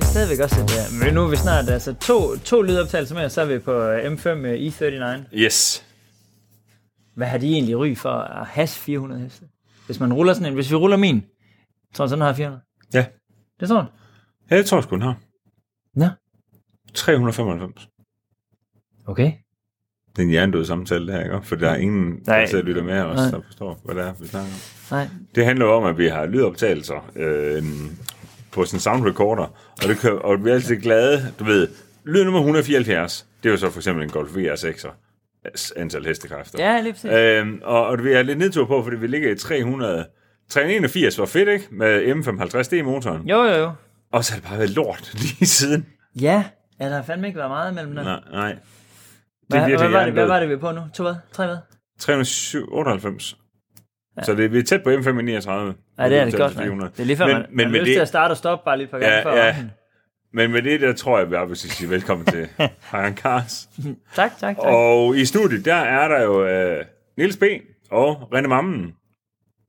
stadigvæk også et... øh, Men nu er vi snart... Altså to, to lydoptagelser med, og så er vi på øh, M5 øh, i39. Yes. Hvad har de egentlig ry for at have 400 heste? Hvis man ruller sådan en... Hvis vi ruller min, tror jeg, sådan har 400. Ja. Det tror jeg. Ja, det tror jeg sgu, den har. Nå, 395. okay. Det er en hjernedød samtale, det her, ikke? For der er ingen, Nej. der sidder og lytter med os, Nej. der forstår, hvad det er, vi snakker om. Nej. Det handler jo om, at vi har lydoptagelser øh, på sådan en sound recorder, og, det kan, og vi er altid glade. Du ved, lyd nummer 174, det er jo så for eksempel en Golf VR6'er s- antal hestekræfter. Ja, lige præcis. Øhm, og, og vi har lidt nedtur på, fordi vi ligger i 300. 381 var fedt, ikke? Med M55D-motoren. Jo, jo, jo. Og så har det bare været lort lige siden. Ja, ja der har fandme ikke været meget imellem dem. Nej, nej. Det Hvad, hvad, var det, hvad hjernedød. var det, vi er på nu? To hvad? Tre hvad? 398. Ja. Så det, vi er tæt på M539. Ja, det er det godt. nok. Det er lige før, men, man, men, man med har lyst til at det, starte og stoppe bare lige et par gange Ja, før. ja. aftenen. men med det, der tror jeg, vi bare vil sige velkommen til Hagen Kars. Tak, tak, tak. Og i studiet, der er der jo øh, Niels B. og René Mammen.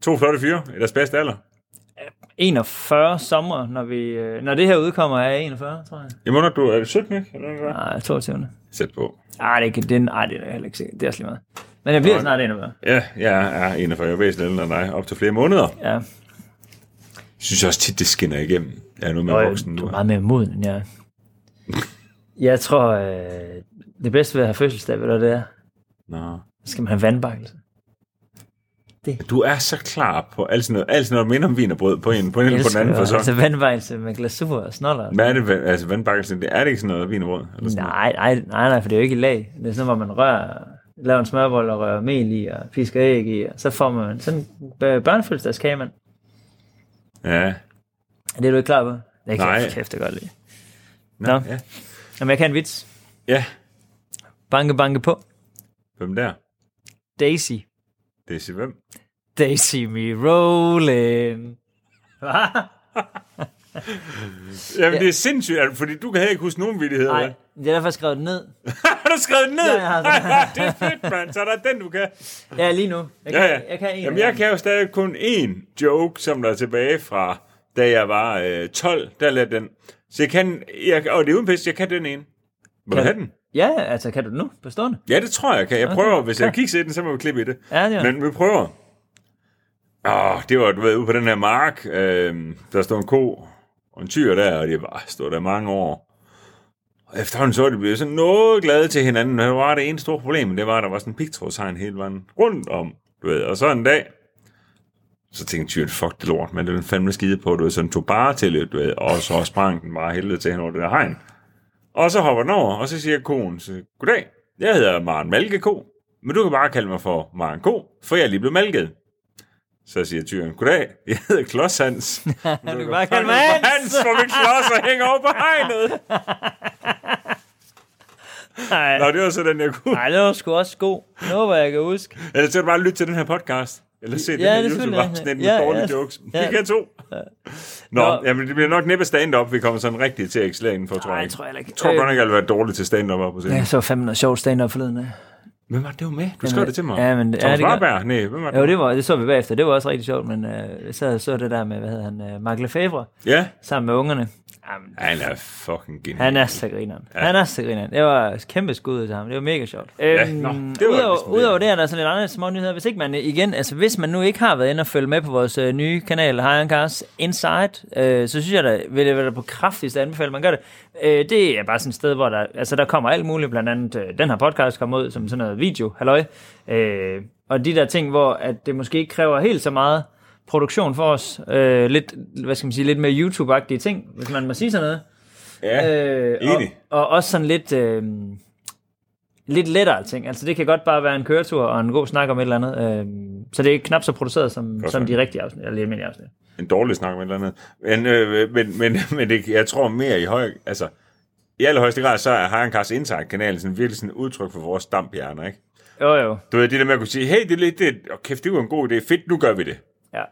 To flotte fyre i deres bedste alder. 41 sommer, når, vi, øh, når det her udkommer, er jeg 41, tror jeg. Jamen, når du er 17, ikke? Eller hvad? Nej, 22. Sæt på. Ej, det, kan, det, nej, det er jeg heller ikke sikkert. Det er også lige meget. Men jeg bliver Nå, snart 41. Ja, jeg er 41 år væsentligt ældre end dig, op til flere måneder. Ja. Jeg synes også tit, det skinner igennem. Jeg er nu med Og voksen du nu. er meget mere moden, end jeg er. Jeg tror, øh, det bedste ved at have fødselsdag, ved du, hvad det er, Nå. så skal man have vandbakkelse. Du er så klar på alt sådan noget, alt sådan noget der minder om vin og brød på en, på en eller på den anden Elsker, fasong. altså vandbakkelse med glasur og snoller. og Hvad er det, vand- altså vandbakkelsen? Det er det ikke sådan noget vin og brød? Eller sådan Nej, nej, nej, nej, for det er jo ikke i lag. Det er sådan, hvor man rører, laver en smørbold og rører mel i, og pisker æg i, og så får man sådan en øh, børnefødselsdagskage, mand. noget? Ja. Er det er du ikke klar på? Det kan Nej. jeg kæft, det godt lide. Nå, Nå. Ja. Jamen, jeg kan en vits. ja. Banke, banke på. Hvem der? Daisy. Det er sig hvem? Daisy me rolling. Hva? Jamen, det er sindssygt, altså, fordi du kan heller ikke huske nogen vittigheder. Nej, vel? det er derfor skrevet det ned. har du skrevet den ned? Ja, jeg har det. det er fedt, mand. Så er der den, du kan. Ja, lige nu. Jeg kan, Ja, ja. Jeg kan en Jamen, jeg kan jo stadig kun én joke, som der er tilbage fra, da jeg var øh, 12. Der lavede den. Så jeg kan, jeg, og det er uden pis, jeg kan den ene. Må du Kan- have den? Ja, altså, kan du det nu på stående? Ja, det tror jeg, jeg kan. Jeg prøver, hvis jeg kigger i den, så må vi klippe i det. Ja, det er- Men vi prøver. Åh, det var, du ved, ude på den her mark, øh, der stod en ko og en tyr der, og det var stod der mange år. Og efterhånden så er de blevet sådan noget glade til hinanden, men der var det ene store problem, det var, at der var sådan en pigtrådshegn hele vejen rundt om, du ved. Og så en dag, så tænkte tyren, fuck det lort, men det ville den fandme skide på, du ved, så den tog bare til, du ved, og så sprang den bare helvede til hen over det der hegn. Og så hopper den over, og så siger konen, så, goddag, jeg hedder Maren Malkeko, men du kan bare kalde mig for Maren Ko, for jeg er lige blevet malket. Så siger tyren, goddag, jeg hedder Klods Hans. Men Du kan bare kalde kalde mig Hans. Hans, for min klodser hænger over på hegnet. Nej, Nå, det var så den, jeg kunne. nej, det var sgu også god. Nu håber jeg, jeg kan huske. Ellers skal du bare lytte til den her podcast. Eller se ja, den det her er selvfølgelig YouTube-afsnit med rigtigt. Ja, dårlige ja. jokes. Vi Ja. kan to. Nå, Nå. jamen, det bliver nok næppe stand-up, vi kommer sådan rigtigt til at excellere indenfor, tror Nej, jeg. det tror Øh, jeg heller ikke. Jeg tror godt nok, jeg vil være dårlig til stand-up op på scenen. Jeg så fandme noget sjovt stand-up forleden. ja. Hvem var det, du med? Du skrev det til mig. Ja, men, ja, Thomas det gør- Warberg? Nej, hvem var det? Jo, det, var, det så vi bagefter. Det var også rigtig sjovt, men øh, jeg sad og så det der med, hvad hedder han, øh, Mark Lefebvre, Ja. sammen med ungerne. Jamen, Han er fucking genial. han er så grineren. Ja. Han er så grineren. Det var et kæmpe skud til ham. Det var mega sjovt. Øhm, nå, det var udover, ligesom det. udover det er der sådan lidt andre små nyheder. Hvis ikke man øh, igen, altså hvis man nu ikke har været inde og følge med på vores øh, nye kanal, High Cars Inside, øh, så synes jeg da, vil det være på kraftigst anbefale, at man gør det. Øh, det er bare sådan et sted, hvor der, altså, der kommer alt muligt, blandt andet øh, den her podcast kommer ud som sådan noget video, halløj. Øh, og de der ting, hvor at det måske ikke kræver helt så meget produktion for os. Øh, lidt, hvad skal man sige, lidt mere YouTube-agtige ting, hvis man må sige sådan noget. Ja. Øh, Enig. Og, og også sådan lidt, øh, lidt lettere ting. Altså det kan godt bare være en køretur og en god snak om et eller andet. Øh, så det er knap så produceret som, som nok. de rigtige afsnit, eller de almindelige afsnit. En dårlig snak med et eller andet. Men, øh, men, men, men det, jeg tror mere i høj... Altså, i allerhøjeste grad, så er Hagen Kars Insight-kanalen sådan virkelig sådan et udtryk for vores stamphjerner, ikke? Jo jo, Du ved, det der med at kunne sige, hey, det er lidt... Det, oh, kæft, det var en god idé. Fedt, nu gør vi det. ja.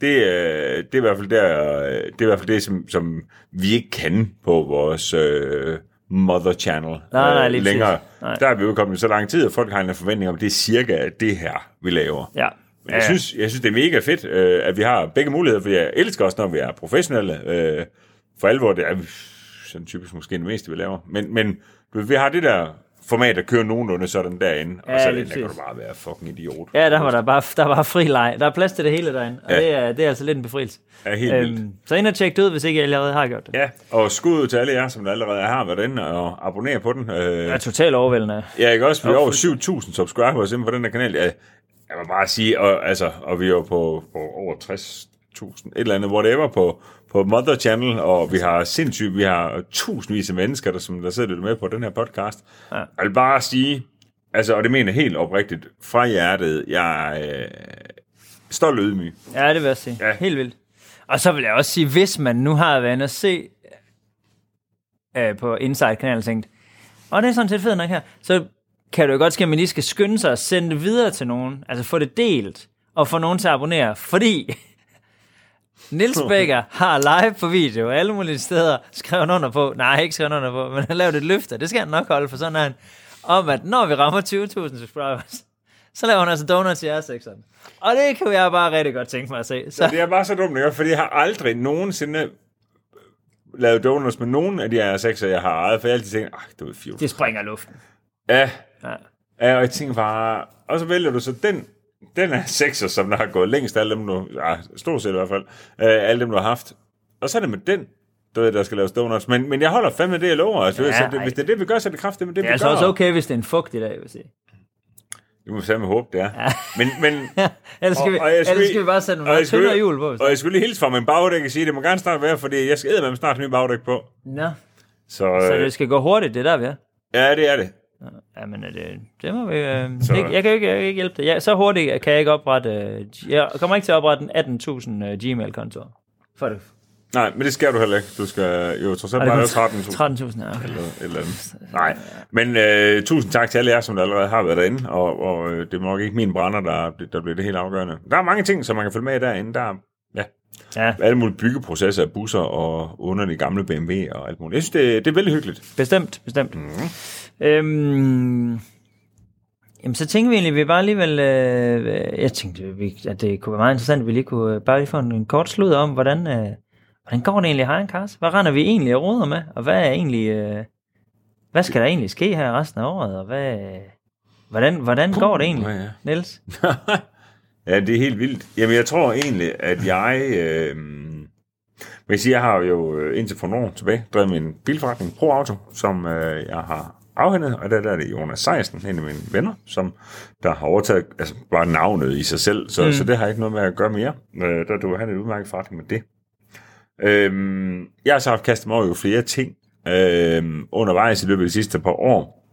Det, øh, det er i hvert fald der, øh, det, er i hvert fald det som, som vi ikke kan på vores øh, mother channel øh, Nej, nej, lige længere. præcis. Nej. Der er vi jo kommet så lang tid, at folk har en forventning om, at det er cirka det her, vi laver. ja. Men jeg, synes, jeg synes, det er mega fedt, øh, at vi har begge muligheder, for jeg elsker også, når vi er professionelle. Øh, for alvor, det er, sådan typisk måske det meste, vi laver. Men, men du ved, vi har det der format, der kører nogenlunde sådan derinde, og Ja, så er lige det, der kan du præcis. bare være fucking idiot. Ja, der var der bare, der var fri leg. Der er plads til det hele derinde, og Ja. ja. det, er, det er altså lidt en befrielse. Øhm, Ja, helt vildt. så ind og tjek det ud, hvis ikke jeg allerede har gjort det. Ja, og skud ud til alle jer, som der allerede har været inde og abonnerer på den. Øh, Jeg er totalt overvældende. Ja, ikke også? Vi er over 7.000 subscribers inden for den der kanal. Ja, jeg vil bare sige, og, altså, og vi er jo på, på over 60.000, et eller andet, whatever, på, på Mother Channel, og vi har sindssygt, vi har tusindvis af mennesker, der, som der sidder og lytter med på den her podcast. Ja. Jeg vil bare sige, altså, og det mener jeg helt oprigtigt, fra hjertet, jeg er øh, stolt og ydmyg. Ja, det vil jeg sige. Ja. Ja. Helt vildt. Og så vil jeg også sige, hvis man nu har været inde og se øh, på Inside-kanalen og tænkt, og det er sådan set fedt nok her, så kan det jo godt ske, at man lige skal skynde sig og sende det videre til nogen, altså få det delt, og få nogen til at abonnere, fordi Nils Becker har live på video alle mulige steder skrevet under på, nej, ikke skrevet under på, men han lavede et løfte, det skal han nok holde, for sådan er han, om at når vi rammer 20.000 subscribers, så laver han altså donuts i R6'eren. Og det kan jeg bare rigtig godt tænke mig at se. Så Det er bare så dumt, ikke? fordi jeg har aldrig nogensinde lavet donuts med nogen af de her sekser, jeg har ejet, for jeg har altid tænkt, ah, det var fjort. det springer i luften. Ja. Ja. ja. og jeg tænker bare, og så vælger du så den, den er sekser, som der har gået længst, af alle dem du, ja, stort set i hvert fald, øh, alle dem du har haft. Og så er det med den, du ved, der skal laves donuts. Men, men jeg holder fandme det, jeg lover. Altså, ja, Ja, så det, ej. hvis det er det, vi gør, så er det kraftigt med det, Det vi er gør. altså også okay, hvis det er en fugt i dag, vil jeg sige. Det må vi fandme håbe, det er. Ja. Men, men, ellers, skal vi, Og- og jeg skulle ellers lige- skal vi bare sætte og nogle jeg skulle tyndere lige- hjul på. hvis- Og jeg skulle lige hilse fra min bagdæk og sige, det må gerne snart være, fordi jeg skal med snart en ny bagdæk på. Nå, Så, så øh, det skal gå hurtigt, det der, vi er. ja, det er det. Ja, men det, det må vi... Øh, det, jeg, kan jo ikke, jeg kan ikke hjælpe dig. Ja, så hurtigt kan jeg ikke oprette... Øh, jeg kommer ikke til at oprette en 18.000 øh, Gmail-kontor. For det. Nej, men det skal du heller ikke. Du skal jo trods Og alt det bare er lave kun 13.000. 13.000, ja, okay. eller et eller andet. Nej, men øh, tusind tak til alle jer, som der allerede har været derinde, og, og øh, det er nok ikke min brænder, der, der bliver det helt afgørende. Der er mange ting, som man kan følge med i derinde. Der er ja, Ja, alle mulige byggeprocesser af busser og underlige gamle BMW og alt muligt. Jeg synes, det, det er veldig hyggeligt. bestemt, bestemt. Mm. Øhm, jamen, så tænker vi egentlig, at vi bare alligevel... Øh, jeg tænkte, at vi- at det kunne være meget interessant, at vi lige kunne øh, bare lige få en, en kort slud om, hvordan, øh, hvordan går det egentlig her en Kars? Hvad render vi egentlig og roder med? Og hvad er egentlig... Øh, hvad skal der egentlig ske her resten af året? Og hvad, øh, hvordan, hvordan går det egentlig, ja, ja. Niels? Ja, det er helt vildt. Jamen, jeg tror egentlig, at jeg... Øh, men jeg, siger, jeg har jo øh, indtil for nogle år tilbage drevet min bilforretning Pro Auto, som øh, jeg har afhændet, og der, der er det Jonas Sejersen, en af mine venner, som der har overtaget altså, bare navnet i sig selv, så, mm. så det har ikke noget med at gøre mere. Øh, der du han en udmærket forretning med det. Øhm, jeg har så haft kastet mig over jo flere ting øhm, undervejs i løbet af de sidste par år.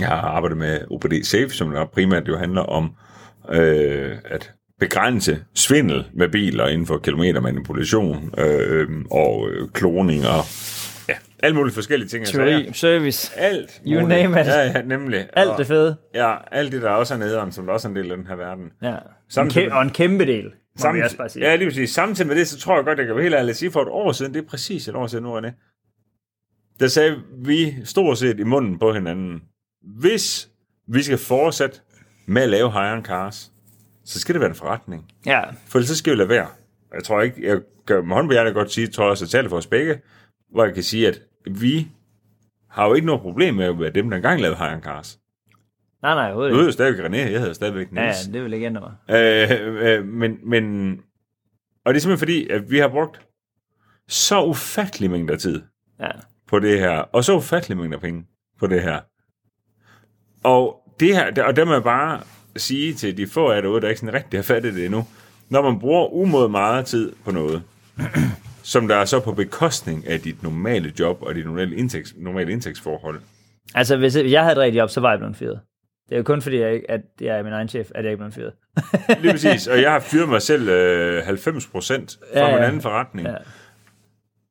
Jeg har arbejdet med OPD Safe, som der primært jo handler om øh, at begrænse svindel med biler inden for kilometermanipulation øh, og øh, kloning og ja, alle mulige forskellige ting. altså, ja. service, Alt. You muligt. name it. Ja, ja, nemlig. alt Og- det fede. Ja, alt det, der også er nederen, som der også er en del af den her verden. Ja. En Samtidig- kæm- og en kæmpe del, må vi Samt, også bare sige. ja, lige præcis. Samtidig med det, så tror jeg godt, jeg kan være helt ærlig at sige, for et år siden, det er præcis et år siden nu, René, der sagde vi stort set i munden på hinanden, hvis vi skal fortsætte med at lave higher cars, så skal det være en forretning. ja. For ellers så skal vi lade være. Jeg tror ikke, jeg kan med hånden på hjertet godt sige, tror jeg også, at tale for os begge, hvor jeg kan sige, at vi har jo ikke noget problem med at være dem, der engang lavede higher cars. Nej, nej, overhovedet Du ikke. hedder stadigvæk René, jeg hedder stadigvæk Niels. Ja, det vil ikke ændre mig. Øh, øh, men, men, og det er simpelthen fordi, at vi har brugt så ufattelig mængder tid Ja. på det her, og så ufattelig mængder penge på det her. Og det her, der- og der må jeg bare sige til de få af jer derude, der ikke sådan rigtig har fattet det endnu, når man bruger umåde meget tid på noget, som der er så på bekostning af dit normale job og dit normale, indtægts, normale indtægtsforhold, Altså, hvis jeg havde et rigtigt job, så var jeg blevet fyret. Det er jo kun fordi, jeg, ikke- at jeg er min egen chef, at jeg ikke blev fyret. Lige præcis. Og jeg har fyret mig selv øh, 90 procent fra Ja, ja, ja. ja. min anden forretning. Ja. Ja.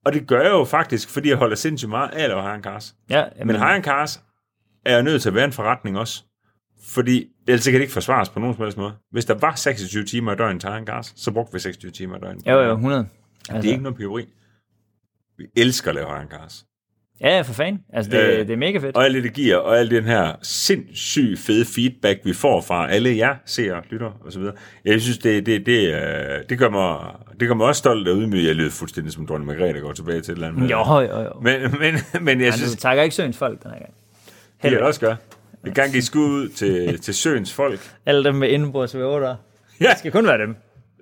Og det gør jeg jo faktisk, fordi jeg holder sindssygt meget af at lave Haran Cars. Ja, jamen, Men Haran Cars er jo nødt til at være en forretning også. Fordi ellers kan det ikke forsvares på nogen som helst måde. Hvis der var 26 timer i døgnet til Haran Cars, så brugte vi 26 timer i døgnet. Jo, jo, 100. Det er ikke noget pyveri. Vi elsker at lave Haran Cars. Ja, ja, for fanden. Altså, det, øh, Øh, det er mega fedt. Og alt det, det giver, og al den her sindssygt fede feedback, vi får fra alle jer seere, lytter osv. Jeg synes, det, det, det, øh, det, gør mig, det gør mig også stolt og ydmyg. Jeg lyder fuldstændig som dronning Margrethe, der går tilbage til et eller andet. Jo, jo, jo. jo. Men, men, men jeg Ej, nu synes, takker ikke Søens folk den her gang. det Heller. også gør. En gang gik skud ud til, til søens folk. Alle dem med indenbords V8'er. Ja, Det skal kun være dem.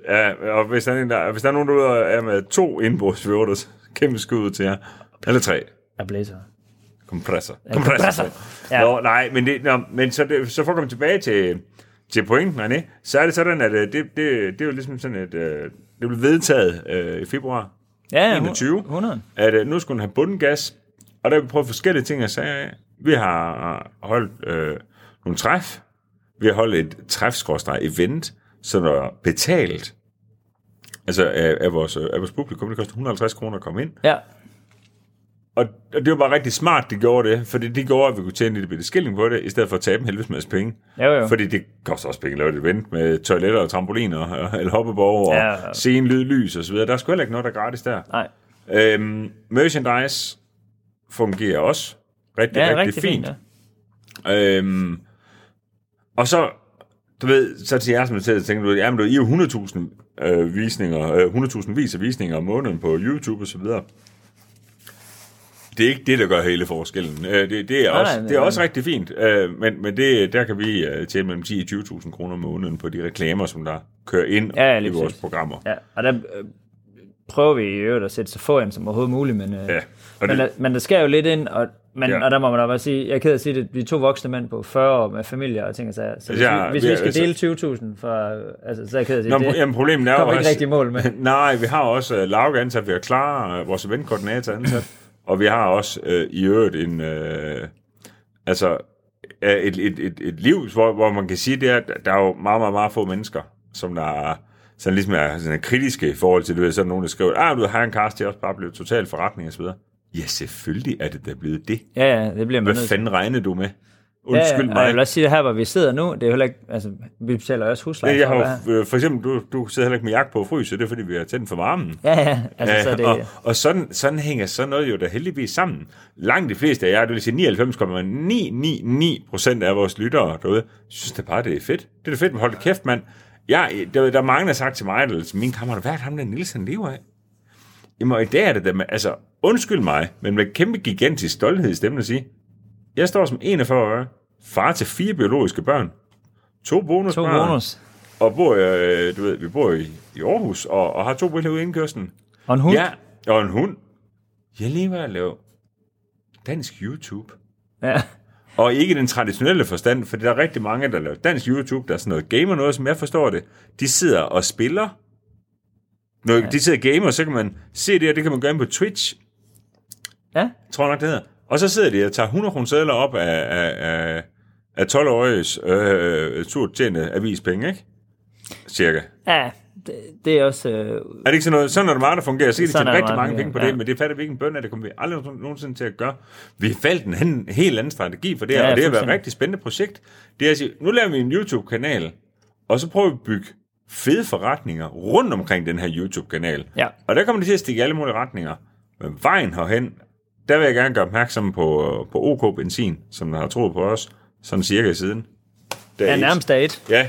ja og hvis der, er en, der, hvis der er nogen derude, der er med to indbrugsvørter, så kæmpe skud ud til jer. Alle tre. Og blæser. Kompressor. kompressor. Ja. Ja. Nå, nej, men, det, nå, men så, det, så for at komme tilbage til, til pointen, René, så er det sådan, at øh, det, det, det er jo ligesom sådan, at øh, det blev vedtaget øh, i februar, Ja, ja, 21. 100. at øh, nu skulle den have bundgas, og der har vi prøvet forskellige ting at sige. Vi har holdt øh, nogle træf, vi har holdt et træf-event, som er betalt, altså af, af, vores, øh, af vores publikum, det koster 150 kroner at komme ind, Ja, og, og det var bare rigtig smart, de gjorde det, fordi det gjorde, at vi kunne tjene en lille bitte skilling på det, i stedet for at tabe en helvedes masse penge. Jo, jo. Fordi det koster også penge at lave et event med toiletter og trampoliner, og, eller hoppeborg, og Ja, ja, ja. ja. scene, lyd, lys osv. Der er sgu heller ikke noget, der er gratis der. nej. Øhm, merchandise fungerer også rigtig, Ja, rigtig, rigtig fint. fint. ja. Øhm, og så, du ved, så til jer, som sidder og tænker, du ved, jamen, du, I er jo 100.000 øh, visninger, øh, 100.000 vis af visninger om måneden på YouTube osv. Det er ikke det, der gør hele forskellen. Øh, det, det, er Nej, også, nej, det er nej. også rigtig fint, øh, men, men det, der kan vi øh, tjene mellem 10 og 20.000 kroner om måneden på de reklamer, som der kører ind Ja, ja, i lige vores præcis. programmer. Ja, og der øh, prøver vi i øvrigt at sætte så få ind som overhovedet muligt, men, øh, Ja, og men, det- der, men der skal jo lidt ind, og, men, ja. Ja. og der må man da bare sige, jeg er ked af at sige det, vi er to voksne mænd på 40 år med familie og ting og sager, så hvis, Ja, vi, hvis vi vi er- skal altså- dele 20.000, for, øh, altså, så er jeg ked af at sige, Nå, det jamen, problemet er jo kommer ikke også- rigtig i mål med. Nej, vi har også uh, Lauke ansat, vi har Clara, uh, vores eventkoordinator ansat, og vi har også uh, i øvrigt en, uh, altså, uh, et, et, et, et liv, hvor, hvor man kan sige, det er, at der er jo meget, meget, meget få mennesker, som der er, sådan ligesom er, sådan er kritiske i forhold til, du ved, så er der nogen, der skriver, ah, du har en cast, det er også bare blevet total forretning og så videre. Ja, selvfølgelig er det da blevet det. Ja, ja, det bliver man Hvad nødt til. fanden regner du med? Ja, Undskyld ja, og mig. jeg vil også sige, at her, hvor vi sidder nu, det er jo heller ikke, altså, vi betaler jo også husleje. Jeg for har at jo, være her. øh, for eksempel, du, du sidder heller ikke med jakke på og fryser, det er fordi, vi har tændt for varmen. Ja, ja, altså, så er det, og, og sådan, sådan hænger sådan noget jo da heldigvis sammen. Langt de fleste af jer, det vil sige 99,999 procent af vores lyttere derude, synes da bare, det er fedt. Det er da fedt, men hold da kæft, mand. Jeg, der, der er mange, der har sagt til mig, eller til min kammerat, hvad er det ham, der Nielsen lever af? Jamen, og i dag er det da, med- altså, undskyld mig, men med kæmpe gigantisk stolthed i stemmen at sige, jeg står som 41 far til fire biologiske børn, to to bonusbørn, bonus og bor, øh, du ved, vi bor i, i Aarhus, og, og har to biler ude i indkørslen. og en hund. Ja, og en hund. Jeg lever af at lave dansk YouTube. ja. Og ikke i den traditionelle forstand, for der er rigtig mange, der laver dansk YouTube, der er sådan noget gamer noget, som jeg forstår det. De sidder og spiller. Når ja. de sidder og gamer, så kan man se det, og det kan man gøre ind på Twitch, ja. tror jeg nok, det hedder. Og så sidder de og tager 100 kroner sædler op af, af, af, af 12-åriges øh, surt tjente avispenge, ikke? Cirka. Ja, det, det er også... Øh, Er det ikke sådan noget? Sådan er det meget, der fungerer. Så kan de Sådan er tjene det rigtig meget, mange ja. penge på Ja. det, men det fatter vi ikke en bøn af, det kommer vi aldrig nogen- nogensinde til at gøre. Vi valgte en anden- helt anden strategi for det her, Ja, ja, og det har været fuldstændig. et rigtig spændende projekt. Det er at sige, nu laver vi en YouTube-kanal, og så prøver vi at bygge fede forretninger rundt omkring den her YouTube-kanal. Ja. Og der kommer det til at stikke i alle mulige retninger. Men vejen herhen, der vil jeg gerne gøre opmærksom på, på OK Benzin, som der har troet på os, sådan cirka siden. dag ja, et. nærmest dag et. Ja.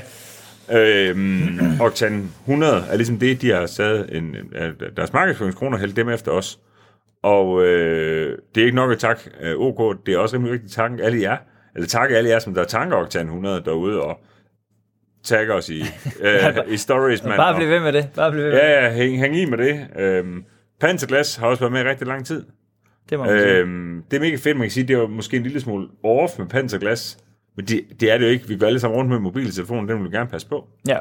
Øhm, Octan 100 er ligesom det, de har sat en, øh, deres markedsføringskroner hældt dem efter os. Og øh, det er ikke nok at takke øh, OK, det er også rimelig vigtigt at takke alle jer, eller takke alle jer, som der tanker Octan 100 derude og tagger os i, øh, i stories, man. Bare og- bliv ved med det. Bare bliv ved med det. Ja, ja, hæng, hæng i med det. Øhm, Panzerglas har også været med i rigtig lang tid. Det må man sige. Øhm, det er mega fedt, man kan sige, det var måske en lille smule off med panserglas, men det, det er det jo ikke. Vi går alle sammen rundt med mobiltelefonen, den vil vi gerne passe på. Ja.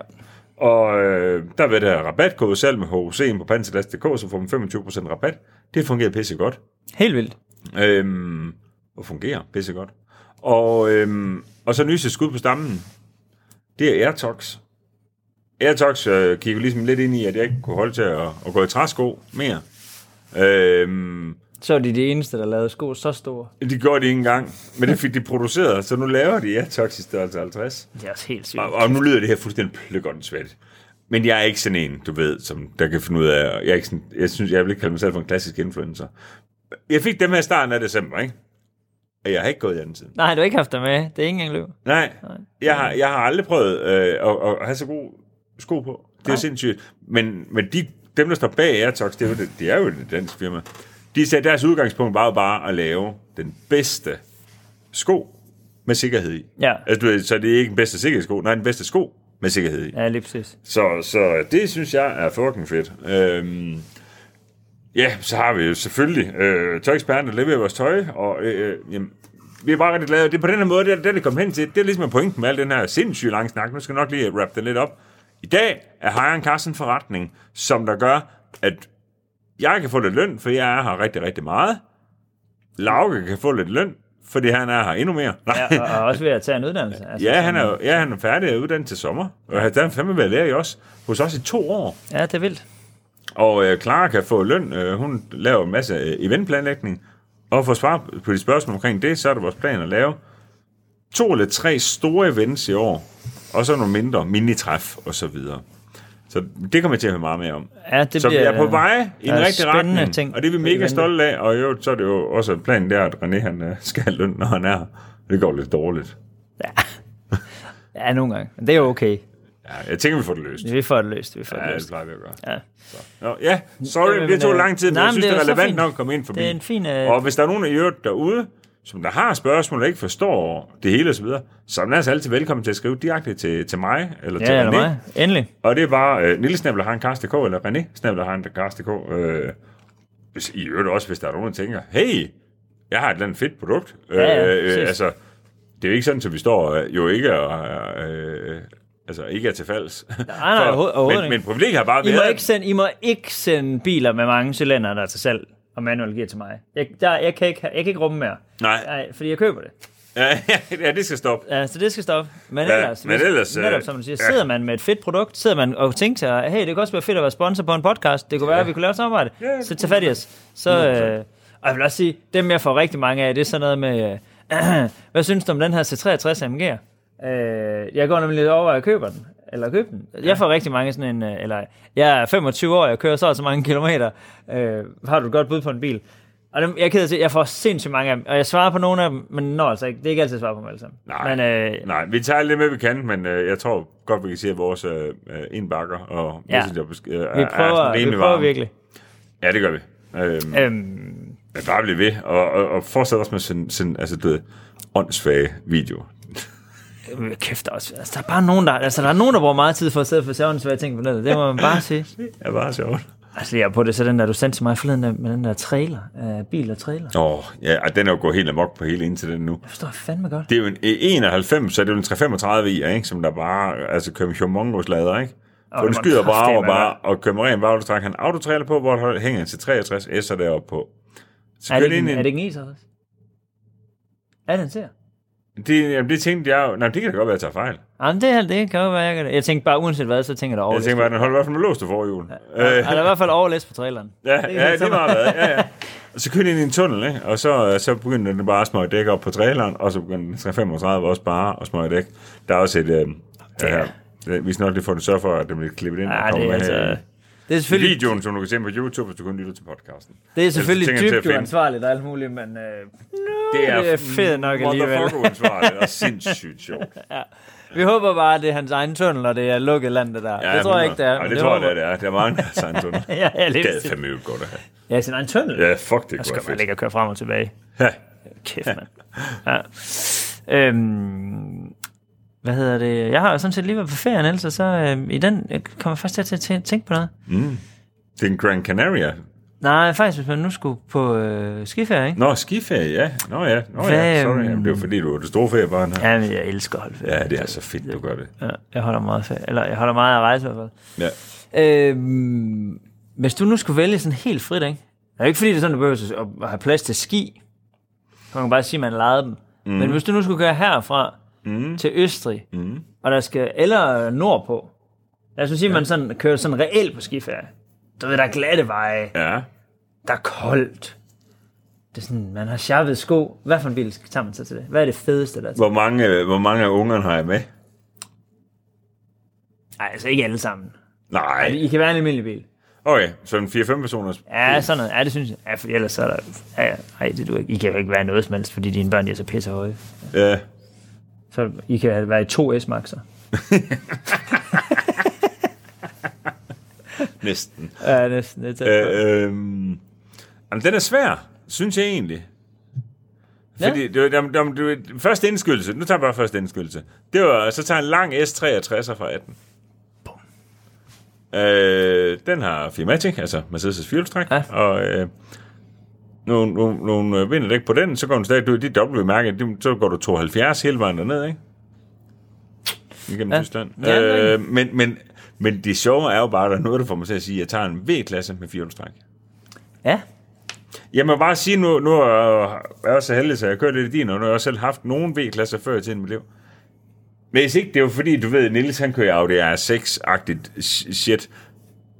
Og øh, der vil der rabatkode selv med HOC'en på panserglas.dk, så får man 25% rabat. Det fungerer pisse godt. Helt vildt. Øhm, og fungerer pisse godt. Og, øhm, og så nyeste skud på stammen, det er Airtox. Airtox øh, gik jo ligesom lidt ind i, at jeg ikke kunne holde til at, at gå i træsko mere. Øhm, Så er de de eneste, der lavede sko så store. De gjorde det ikke engang, men det fik de produceret, så nu laver de Airtox i størrelse 50. Det er også helt sygt. Og, og nu lyder det her fuldstændig pløkåndssvagt. Men jeg er ikke sådan en, du ved, som der kan finde ud af, jeg, er ikke sådan, jeg synes, jeg vil ikke kalde mig selv for en klassisk influencer. Jeg fik dem her i starten af december, ikke? Og jeg har ikke gået i anden siden. Nej, du har ikke haft dig med. Det er ikke engang løb. Nej, Nej. jeg har, jeg har aldrig prøvet øh, at, at have så gode sko på. Det er Nej. sindssygt. Men, men de, dem, der står bag Airtox, det er jo, det, det er jo et dansk firma. De sagde, deres udgangspunkt var jo bare at lave den bedste sko med sikkerhed i. Ja. Altså, du ved, så det er ikke den bedste sikkerhedssko, nej, den bedste sko med sikkerhed i. Ja, lige præcis. Så, så det synes jeg er fucking fedt. Øhm, ja, så har vi jo selvfølgelig øh, tøjeksperten, der leverer vores tøj, og øh, øh, jamen, vi er bare rigtig glade. Det er på den her måde, det er det, det kom hen til. Det er ligesom pointen med al den her sindssyge lange snak. Nu skal jeg nok lige wrap den lidt op. I dag er Hejren Carsten forretning, som der gør, at jeg kan få lidt løn, for jeg er her rigtig, rigtig meget. Lauke kan få lidt løn, fordi han er her endnu mere. Nej. Ja, og, og også ved at tage en uddannelse. Altså, Ja, han er, jo- ja, han er færdig og uddannet til sommer. Og han har fandme været lærer i os, hos os i to år. Ja, det er vildt. Og øh, Clara kan få løn. Øh, hun laver en masse øh, eventplanlægning. Og for svar på de spørgsmål omkring det, så er det vores plan at lave to eller tre store events i år. Og så nogle mindre minitræf og så videre. Så det kommer jeg til at høre meget mere om. Ja, det Så vi bliver, er på vej i der den er rigtige spændende retning, ting og det er vi i mega vente. stolte af. Og jo, så er det jo også en plan der, at René han øh, skal have løn, når han er her. Det går lidt dårligt. Ja. ja, nogle gange. Men det er jo okay. Ja, jeg tænker, vi får det løst. Vi får det løst. Vi får det Ja, det løst. plejer vi at gøre. Ja. Nå, ja, sorry, Jamen, Jamen, det tog øh, lang tid, men nej, jeg men synes, det det er er så relevant fint. nok at komme ind forbi. Det er en fin, øh, Og hvis der er nogen af jer derude, som der har spørgsmål og ikke forstår det hele osv., så er man altså altid velkommen til at skrive direkte til, til mig eller til Ja, eller René. mig. Endelig. Og det er bare øh, nillesnablerhankars.dk eller René snablerhankars.dk. Øh, hvis, I øvrigt også, hvis der er nogen, der tænker, hey, jeg har et eller andet fedt produkt. Øh, ja, præcis. altså, det er jo ikke sådan, at vi står øh, jo ikke og, øh, øh, altså ikke er til falds. nej, overhovedet- overhovedet men, ikke. men privilegiet har bare I må, været... ikke sende, I må ikke sende biler med mange cylinder, der er til salg, og manuel gear til mig. Jeg, der, jeg, kan ikke, jeg kan ikke rumme mere. Nej. Nej, fordi jeg køber det. Ja, ja, det skal stoppe. Ja, så det skal stoppe. Men Ja, ellers, men hvis- ellers, øh, netop, som du siger, ja. sidder man med et fedt produkt, sidder man og tænker sig, hey, det kunne også være fedt at være sponsor på en podcast, det kunne være, at vi kunne lave et samarbejde, Ja, det så tag fat i os. Så, øh, og jeg vil også sige, dem jeg får rigtig mange af, det er sådan noget med, øh, hvad synes du om den her C63 AMG? Øh, jeg går nemlig lidt over, at jeg køber den. Eller købe den. Jeg får rigtig mange sådan en, øh, eller jeg er 25 år, jeg kører så og så mange kilometer. Øh, har du et godt bud på en bil? Og dem, jeg er ked af at sige, jeg får sindssygt mange af dem, og jeg svarer på nogle af dem, men når altså ikke, det er ikke altid, jeg svarer på dem alle sammen. Nej. Men, øh, Nej, vi tager alt det med, vi kan, men øh, jeg tror godt, vi kan sige, at vores øh, øh, indbakker og Ja. messenger øh, er- Vi er sådan prøver, vi rimelig prøver varme. virkelig. Ja, det gør vi. Øhm, ja. Øhm, Men bare bliv ved, og, og, og fortsæt også med sådan, sådan altså, det ved, åndssvage video. øh, kæft også. Altså, der er bare nogen, der, altså, der er nogen, der bruger meget tid for at sidde og få sævn svære ting på nettet. Det må man bare sige. Det er bare sjovt. Altså, jeg er på det, så den der, du sendte til mig forleden der, med den der trailer, øh, bil og trailer. Åh, oh, ja, og den er jo gået helt amok på hele internet nu. Det forstår jeg fandme godt. Det er jo en øh, 91, så det er jo en 335 i, ikke? som der bare altså, kører med humongous lader, ikke? For det den må skyder bare kraftedeme over bare, og kører med ren bare, og du trækker han autotrailer på, hvor der hænger en til 63 S'er deroppe på. Så Er det, kører ikke, ind en, i er en- det ikke en iser også? Er det en ser? Det, jamen, det tænkte jeg jo. Nej, det kan da godt være, at jeg tager fejl. Jamen, det, er, det kan jo være, jeg kan det. Jeg tænkte bare, uanset hvad, så tænker jeg over. Jeg tænkte bare, at den holder i hvert fald med låst for jul. Ja, øh, Øh. Eller i hvert fald overlæst på traileren. ja, det, ja, det er meget været. Ja, ja. Og så kørte jeg ind i en tunnel, ikke? og så, øh, så begyndte den bare at smøge dæk op på traileren, og så begyndte den 335 også bare at smøge dæk. Der er også et... Øh, ja. her. Det- Vi skal nok lige få den sørge for, at den bliver klippet ind. og Ja, kommer det er med øh, her altså... i- Det er i selvfølgelig, videoen, som du kan se på YouTube, hvis du kun lytter til podcasten. det er selvfølgelig Ellers så tænker dybt jeg til at finde- uansvarligt og alt muligt, men øh, det er fedt nok alligevel. Motherfucker uansvarligt og sindssygt sjovt. vi håber bare, at det er hans egen tunnel, og det er lukket land, det der. Ja, det tror jeg ikke, det er. Nej, men det, tror jeg, håber- det er. Der er mange, der har sagt, du. Det Ja, ja, lige er præcis. fandme jo godt at have. Ja, sin egen tunnel. Ja, fuck, det Så kunne kan være man fedt. ligge og køre frem og tilbage. Ja. Kæft, mand. Ja. Øhm, hvad hedder det? Jeg har jo sådan set lige været på ferien, ellers, og så øhm, i den øh, kommer jeg først til at tæ- tænke på noget. Det er en Gran Canaria. Nej, faktisk, hvis man nu skulle på øh, skiferie, ikke? Nå, skiferie, ja. Nå ja, Nå, Hvad, ja. Sorry, øhm, Jamen, det er jo fordi, du er det store feriebarn her. Ja, men jeg elsker at holde ferie. Ja, det er så fedt, du gør det. Ja, jeg holder meget af ferie. Eller jeg holder meget af at rejse i hvert fald. Ja. Øhm, hvis du nu skulle vælge sådan helt frit, ikke? Det er jo ikke fordi, det er sådan, du behøver at- at have plads til ski. Man kan bare sige, at man lejede dem. Mm. Men hvis du nu skulle køre herfra mm. til Østrig, mm. og der skal, eller øh, nordpå, lad os nu sige, at man sådan, kører sådan reelt på skiferie. Du ved, der er glatte veje, Ja. der er koldt. Det er sådan, man har sjappet sko. Hvad for en bil tager man så til det? Hvad er det fedeste, der er til? Hvor mange, øh, hvor mange af ungerne har jeg med? Nej, altså ikke alle sammen. Nej, I kan være en almindelig bil. Okay, så en 4-5 personers... Ja, sådan noget. Ja, det synes jeg. Ja, for ellers så er der... Ja, ja. Ej, det du ikke. I kan jo ikke være noget som helst, fordi dine børn de er så pisse høje. Ja. Så I kan være i to S-maxer. Næsten. Ja, næsten. Det er tæt på. Øh, øh, jamen, den er svær, synes jeg egentlig. Fordi det var, jamen, jamen, det var, første indskydelse, nu tager jeg bare første indskyldelse. Det var, så tager jeg en lang S63 fra 18. Øh, den har Firmatic, altså Mercedes' fjolstræk, Ja. ja. og øh, nogle, nogle, nogle øh, vinterdæk på den, så går den stadig ud i dit W-mærke, det- så går du 72 hele vejen derned, ikke? Igennem Ja. ja. Tyskland. Ja, det er øh, men, men, men det sjove er jo bare, at der er noget, der får mig til at sige, at jeg tager en V-klasse med fjolstræk. Ja, Jeg må bare sige, nu, nu er jeg også så heldig, så jeg kører lidt i din, og nu har jeg også selv haft nogen V-klasser før i tiden i mit liv. Men Hvis ikke, det er jo fordi, du ved, Nils han kører Audi R6-agtigt sh- shit,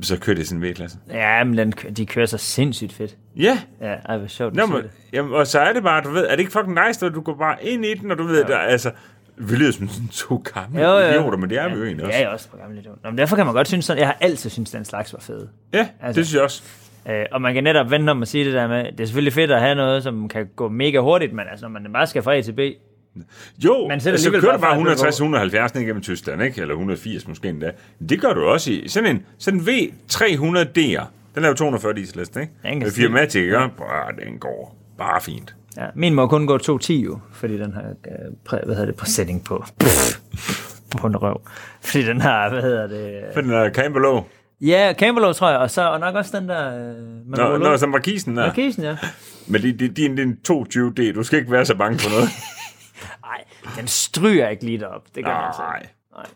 så kører det sådan en V-klasse. ja men den, kø- de kører så sindssygt fedt. Ja, Ja, ej, hvor sjovt, du Nå, siger men, det. jamen, og så er det bare, du ved, er det ikke fucking nice, at du går bare ind i den, og du ved, ja. der, altså, vi lyder som sådan to gamle Jo, jo. idioter, men det er vi jo egentlig også. Ja, jeg er også på gamle Nå, men derfor kan man godt synes sådan, jeg har altid synes den slags var fede. Ja, Altså. det synes jeg også. Øh, og man kan netop vente om at sige det der med, det er selvfølgelig fedt at have noget, som kan gå mega hurtigt, men altså, når man bare skal fra A til B, Jo, Man men sætter så alligevel kører du bare fra et bare 160-170 ned gennem Tyskland, ikke? eller 180 måske endda. Det gør du også i sådan en, sådan en V300DR. Den er jo 240 dieselhest, ikke? Den kan Med sige- Firmatic, ikke? Brr, den går bare fint. Ja, min må kun gå 2.10 jo, fordi den har, øh, præ, hvad hedder det, præsætning på. på en røv. Fordi den har, hvad hedder det... For den er Campbellow. Ja, Campbellow, tror jeg, og så og nok også den der... Øh, Nå, nå, så markisen der. Okay. Markisen, ja. Men det, det, det er en 220D. Du skal ikke være så bange for noget. Nej, den stryger ikke lige derop. Det gør den altså. Nej. ikke. Nej.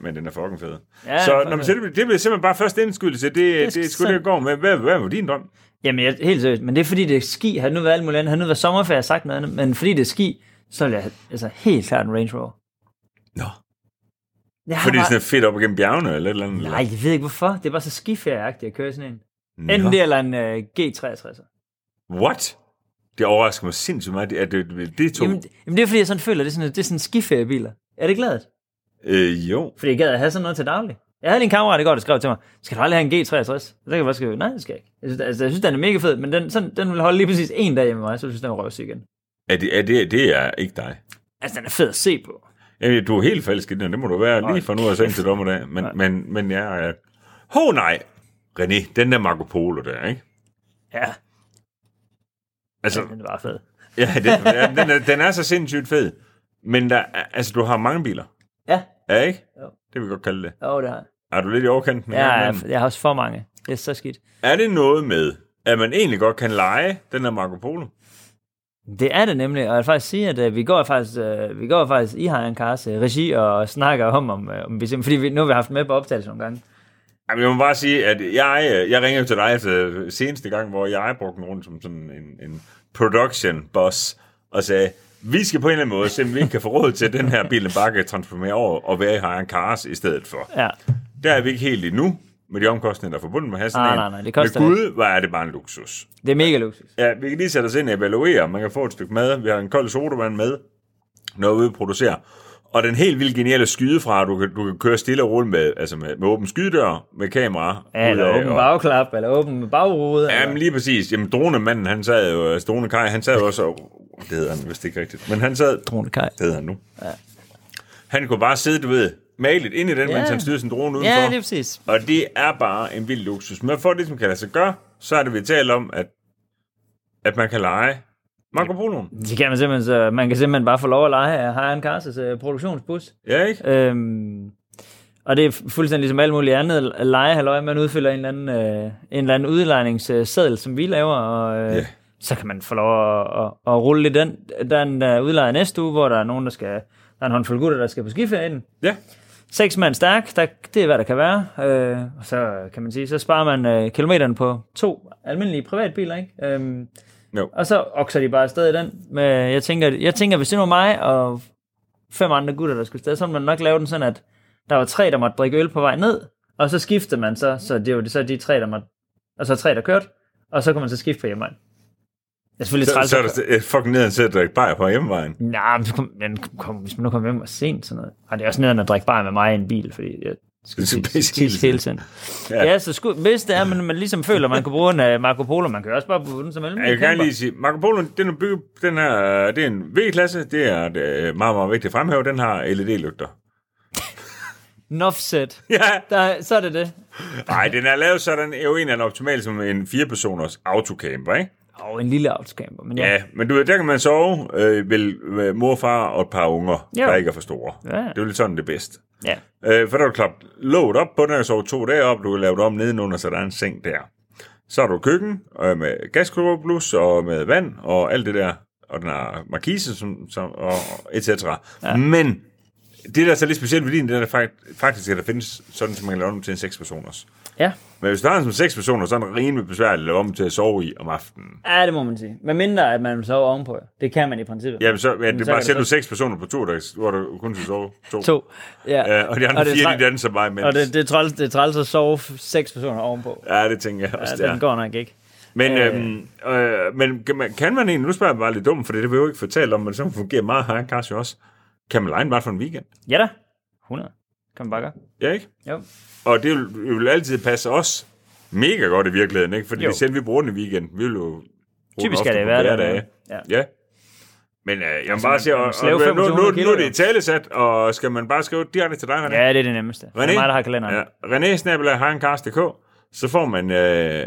Men den er fucking fed. Ja, Ja, den er så når man fucking siger, det, bliver- det bliver simpelthen bare første indskyldelse. Det, det, det er sgu det, sådan. jeg går med. Hvad, hvad var din drøm? Jamen, jeg, helt seriøst, men det er fordi, det er ski. Har det nu været alt muligt andet, har det nu været sommerferie, jeg har sagt noget andet, men fordi det er ski, så vil jeg altså, helt klart en Range Rover. Nå. Jeg har Fordi det er bare, sådan fedt op igennem bjergene eller et eller andet? eller? nej, jeg ved ikke hvorfor. Det er bare så skiferieagtigt at køre i sådan en. Nå. Enten det eller en øh, G63. What? Det overrasker mig sindssygt meget, at det, det, det to. Jamen, det- jamen, det er fordi, jeg sådan føler, det er sådan, det er sådan skiferiebiler. Er det glad? øh, jo. Fordi jeg gad at have sådan noget til daglig. Jeg havde lige en kammerat i går, der skrev til mig, skal du aldrig have en G63? Og så kan jeg bare skrive, nej, det skal jeg ikke. Jeg synes, altså, jeg synes den er mega fed, men den, sådan, den vil holde lige præcis en dag hjemme med mig, så synes jeg, den er røvsyg igen. Er det, er det, det er ikke dig. Altså, den er fed at se på. Jamen, du er helt falsk i den, det må du være Hold lige fra nu og så indtil dommerdag. Men, men, men jeg er... Ho, nej! René, den der Marco Polo der, ikke? Ja, Altså, den er bare fed. ja, det, ja den, er, den er så sindssygt fed. Men der, er- altså, du har mange biler, Ja, ja, ikke? Jo. Det vil vi godt kalde det. jo, det har jeg. Er du lidt i overkanten? en Ja, gang jeg, imellem? jeg har også for mange. Det er så skidt. Er det noget med, at man egentlig godt kan lege den der Marco Polo? Det er det nemlig, og jeg vil faktisk sige, at øh, vi går faktisk, øh, vi går faktisk i Hajan Kars øh, regi og snakker om, om, øh, om vi simpelthen, fordi vi, nu har vi haft den med på optagelse nogle gange. Jamen, jeg må bare sige, at jeg, øh, jeg ringer jo til dig efter seneste gang, hvor jeg brugte den rundt som sådan en, en production boss, og sagde, vi skal på en eller anden måde se, om vi ikke kan få råd til, at den her bil den bare kan transformere over og være i Hayan Cars i stedet for. Ja, Der er vi ikke helt endnu med de omkostninger, der er forbundet med at have sådan Nej, en. nej, nej, det koster Men gud, hvor er det bare en luksus. det er mega luksus. Ja, vi kan lige sætte os ind og evaluere, om man kan få et stykke mad. Vi har en kold sodavand med, noget vi producerer. Og den helt vildt geniale skydefra, du kan, du kan køre stille og roligt med, altså med, med åben skydedør, med kamera. Ja, eller udad, åben og- bagklap, eller åben bagrude. eller- Jamen lige præcis. Jamen dronemanden, han sad jo, altså dronekaj, han sad jo også, og, det hedder han vist ikke rigtigt, men han sad, det Drone Kaj. hedder han nu. Ja. Han kunne bare sidde, du ved, malet ind i den, ja. mens han styrede sin drone udenfor. Ja, det er præcis. Og det er bare en vild luksus. Men for det, som kan lade sig gøre, så er det, vi taler om, at, at man kan lege Marco Polo'en. Det kan man simpelthen, så man kan simpelthen bare få lov at lege af Hajan Kars' øh, produktionsbus. Ja, ikke? Øhm, og det er fuldstændig ligesom alt muligt andet lege, halløj, man udfylder en eller anden, øh, en eller anden udlejningsseddel, som vi laver, og øh, Ja. så kan man få lov at, at, at rulle lidt den. Der er en der er udlejer næste uge, hvor der er nogen, der skal, der er en håndfuld gutter, der skal på skiferien. Ja. Seks mand stærk, der, det er hvad der kan være. Øh, og så øh, kan man sige, så sparer man øh, kilometeren på to almindelige privatbiler, ikke? Øhm, Jo. Og så okser de bare afsted i den. Med, jeg, tænker, jeg tænker, hvis det nu var mig og fem andre gutter, der skulle afsted, så ville man nok lave den sådan, at der var tre, der måtte drikke øl på vej ned, og så skiftede man så, så det var det så de tre, der måtte, og så tre, der kørte, og så kunne man så skifte på hjemmevejen. Det er selvfølgelig Så, træls. så at er køre- der øh, fucking ned, han sidder og drikker bajer på hjemmevejen. Nej, men, så kom, men kom, hvis man nu kommer hjem og sent sådan noget. Og det er også nederen at drikke bare med mig i en bil, fordi jeg, Skal Så tis- Bæs tis- Nielsen. hele tiden. Ja, ja så sku, hvis det er, man, man ligesom føler, man kan bruge en uh, Marco Polo, man kan jo også bare bruge den som Jeg vil gerne almindelig lige sige, Marco Polo, den er bygget, den er, det er en V-klasse, det er et, øh, meget, meget vigtigt at fremhæve, den har E LED-lygter. Nofset. Ja, Der, så er det det. nej, den er lavet sådan, er jo en af optimal som en firepersoners autocamper, ikke? Og en lille autocamper, men ja. Ja, men du ved, der kan man sove øh, vel, med mor, far og et par unger, Ja. ja. der ikke er for store. Ja. Det er jo lidt sådan det er bedst. ja. Øh, for der er du klappet låget op på den, og sove to dage op, du kan lave det om nedenunder, så der er en seng der. Så har du køkken øh, med gaskolblus og med vand og alt det der, og den har markise som, som, og et cetera. Ja. Men det, der er så lidt specielt ved din, det er der fakt- faktisk, at der findes sådan, som man kan lave den om til en seks personers. ja. Men hvis du har en som seks personer, så er den rimelig besværlig at lave om til at sove i om aftenen. Ja, det må man sige. Men mindre, at man sover ovenpå. jo. Det kan man i princippet. Jamen, så, ja, det er så er bare det sæt så- du seks personer på to, der, hvor du kun skal sove to. To. Ja. Ja, og de andre og det er fire, træ- de danser bare imens. Og det, det, er træls, det er træls at sove f- seks personer ovenpå. Ja, det tænker jeg også, Ja, ja, den går nok ikke. Men, øhm, øh, men kan, man, kan man egentlig, nu spørger jeg bare lidt dumt, for det vil jeg jo ikke fortælle om, men så fungerer meget her, Kars jo også. Kan man lege en bare for en weekend? Ja da. 100. Kan man bare gøre. Ja, ikke? Jo. Og det vil, det vil altid passe os mega godt i virkeligheden, ikke? Fordi Jo. jo. selv vi bruger den i weekenden, vi vil jo bruge den Typisk ofte er det på i hverdagen, hverdage. ja. Ja. Men øh, jeg må bare man- sige, man og, slave og, nu, nu, 500 nu, kilo, nu er det jo. i talesat, og skal man bare skrive direkte til dig, René? Ja, det er det nemmeste. Det er mig, der har kalenderen. Ja, René Snabela Harencast.dk, så får man øh,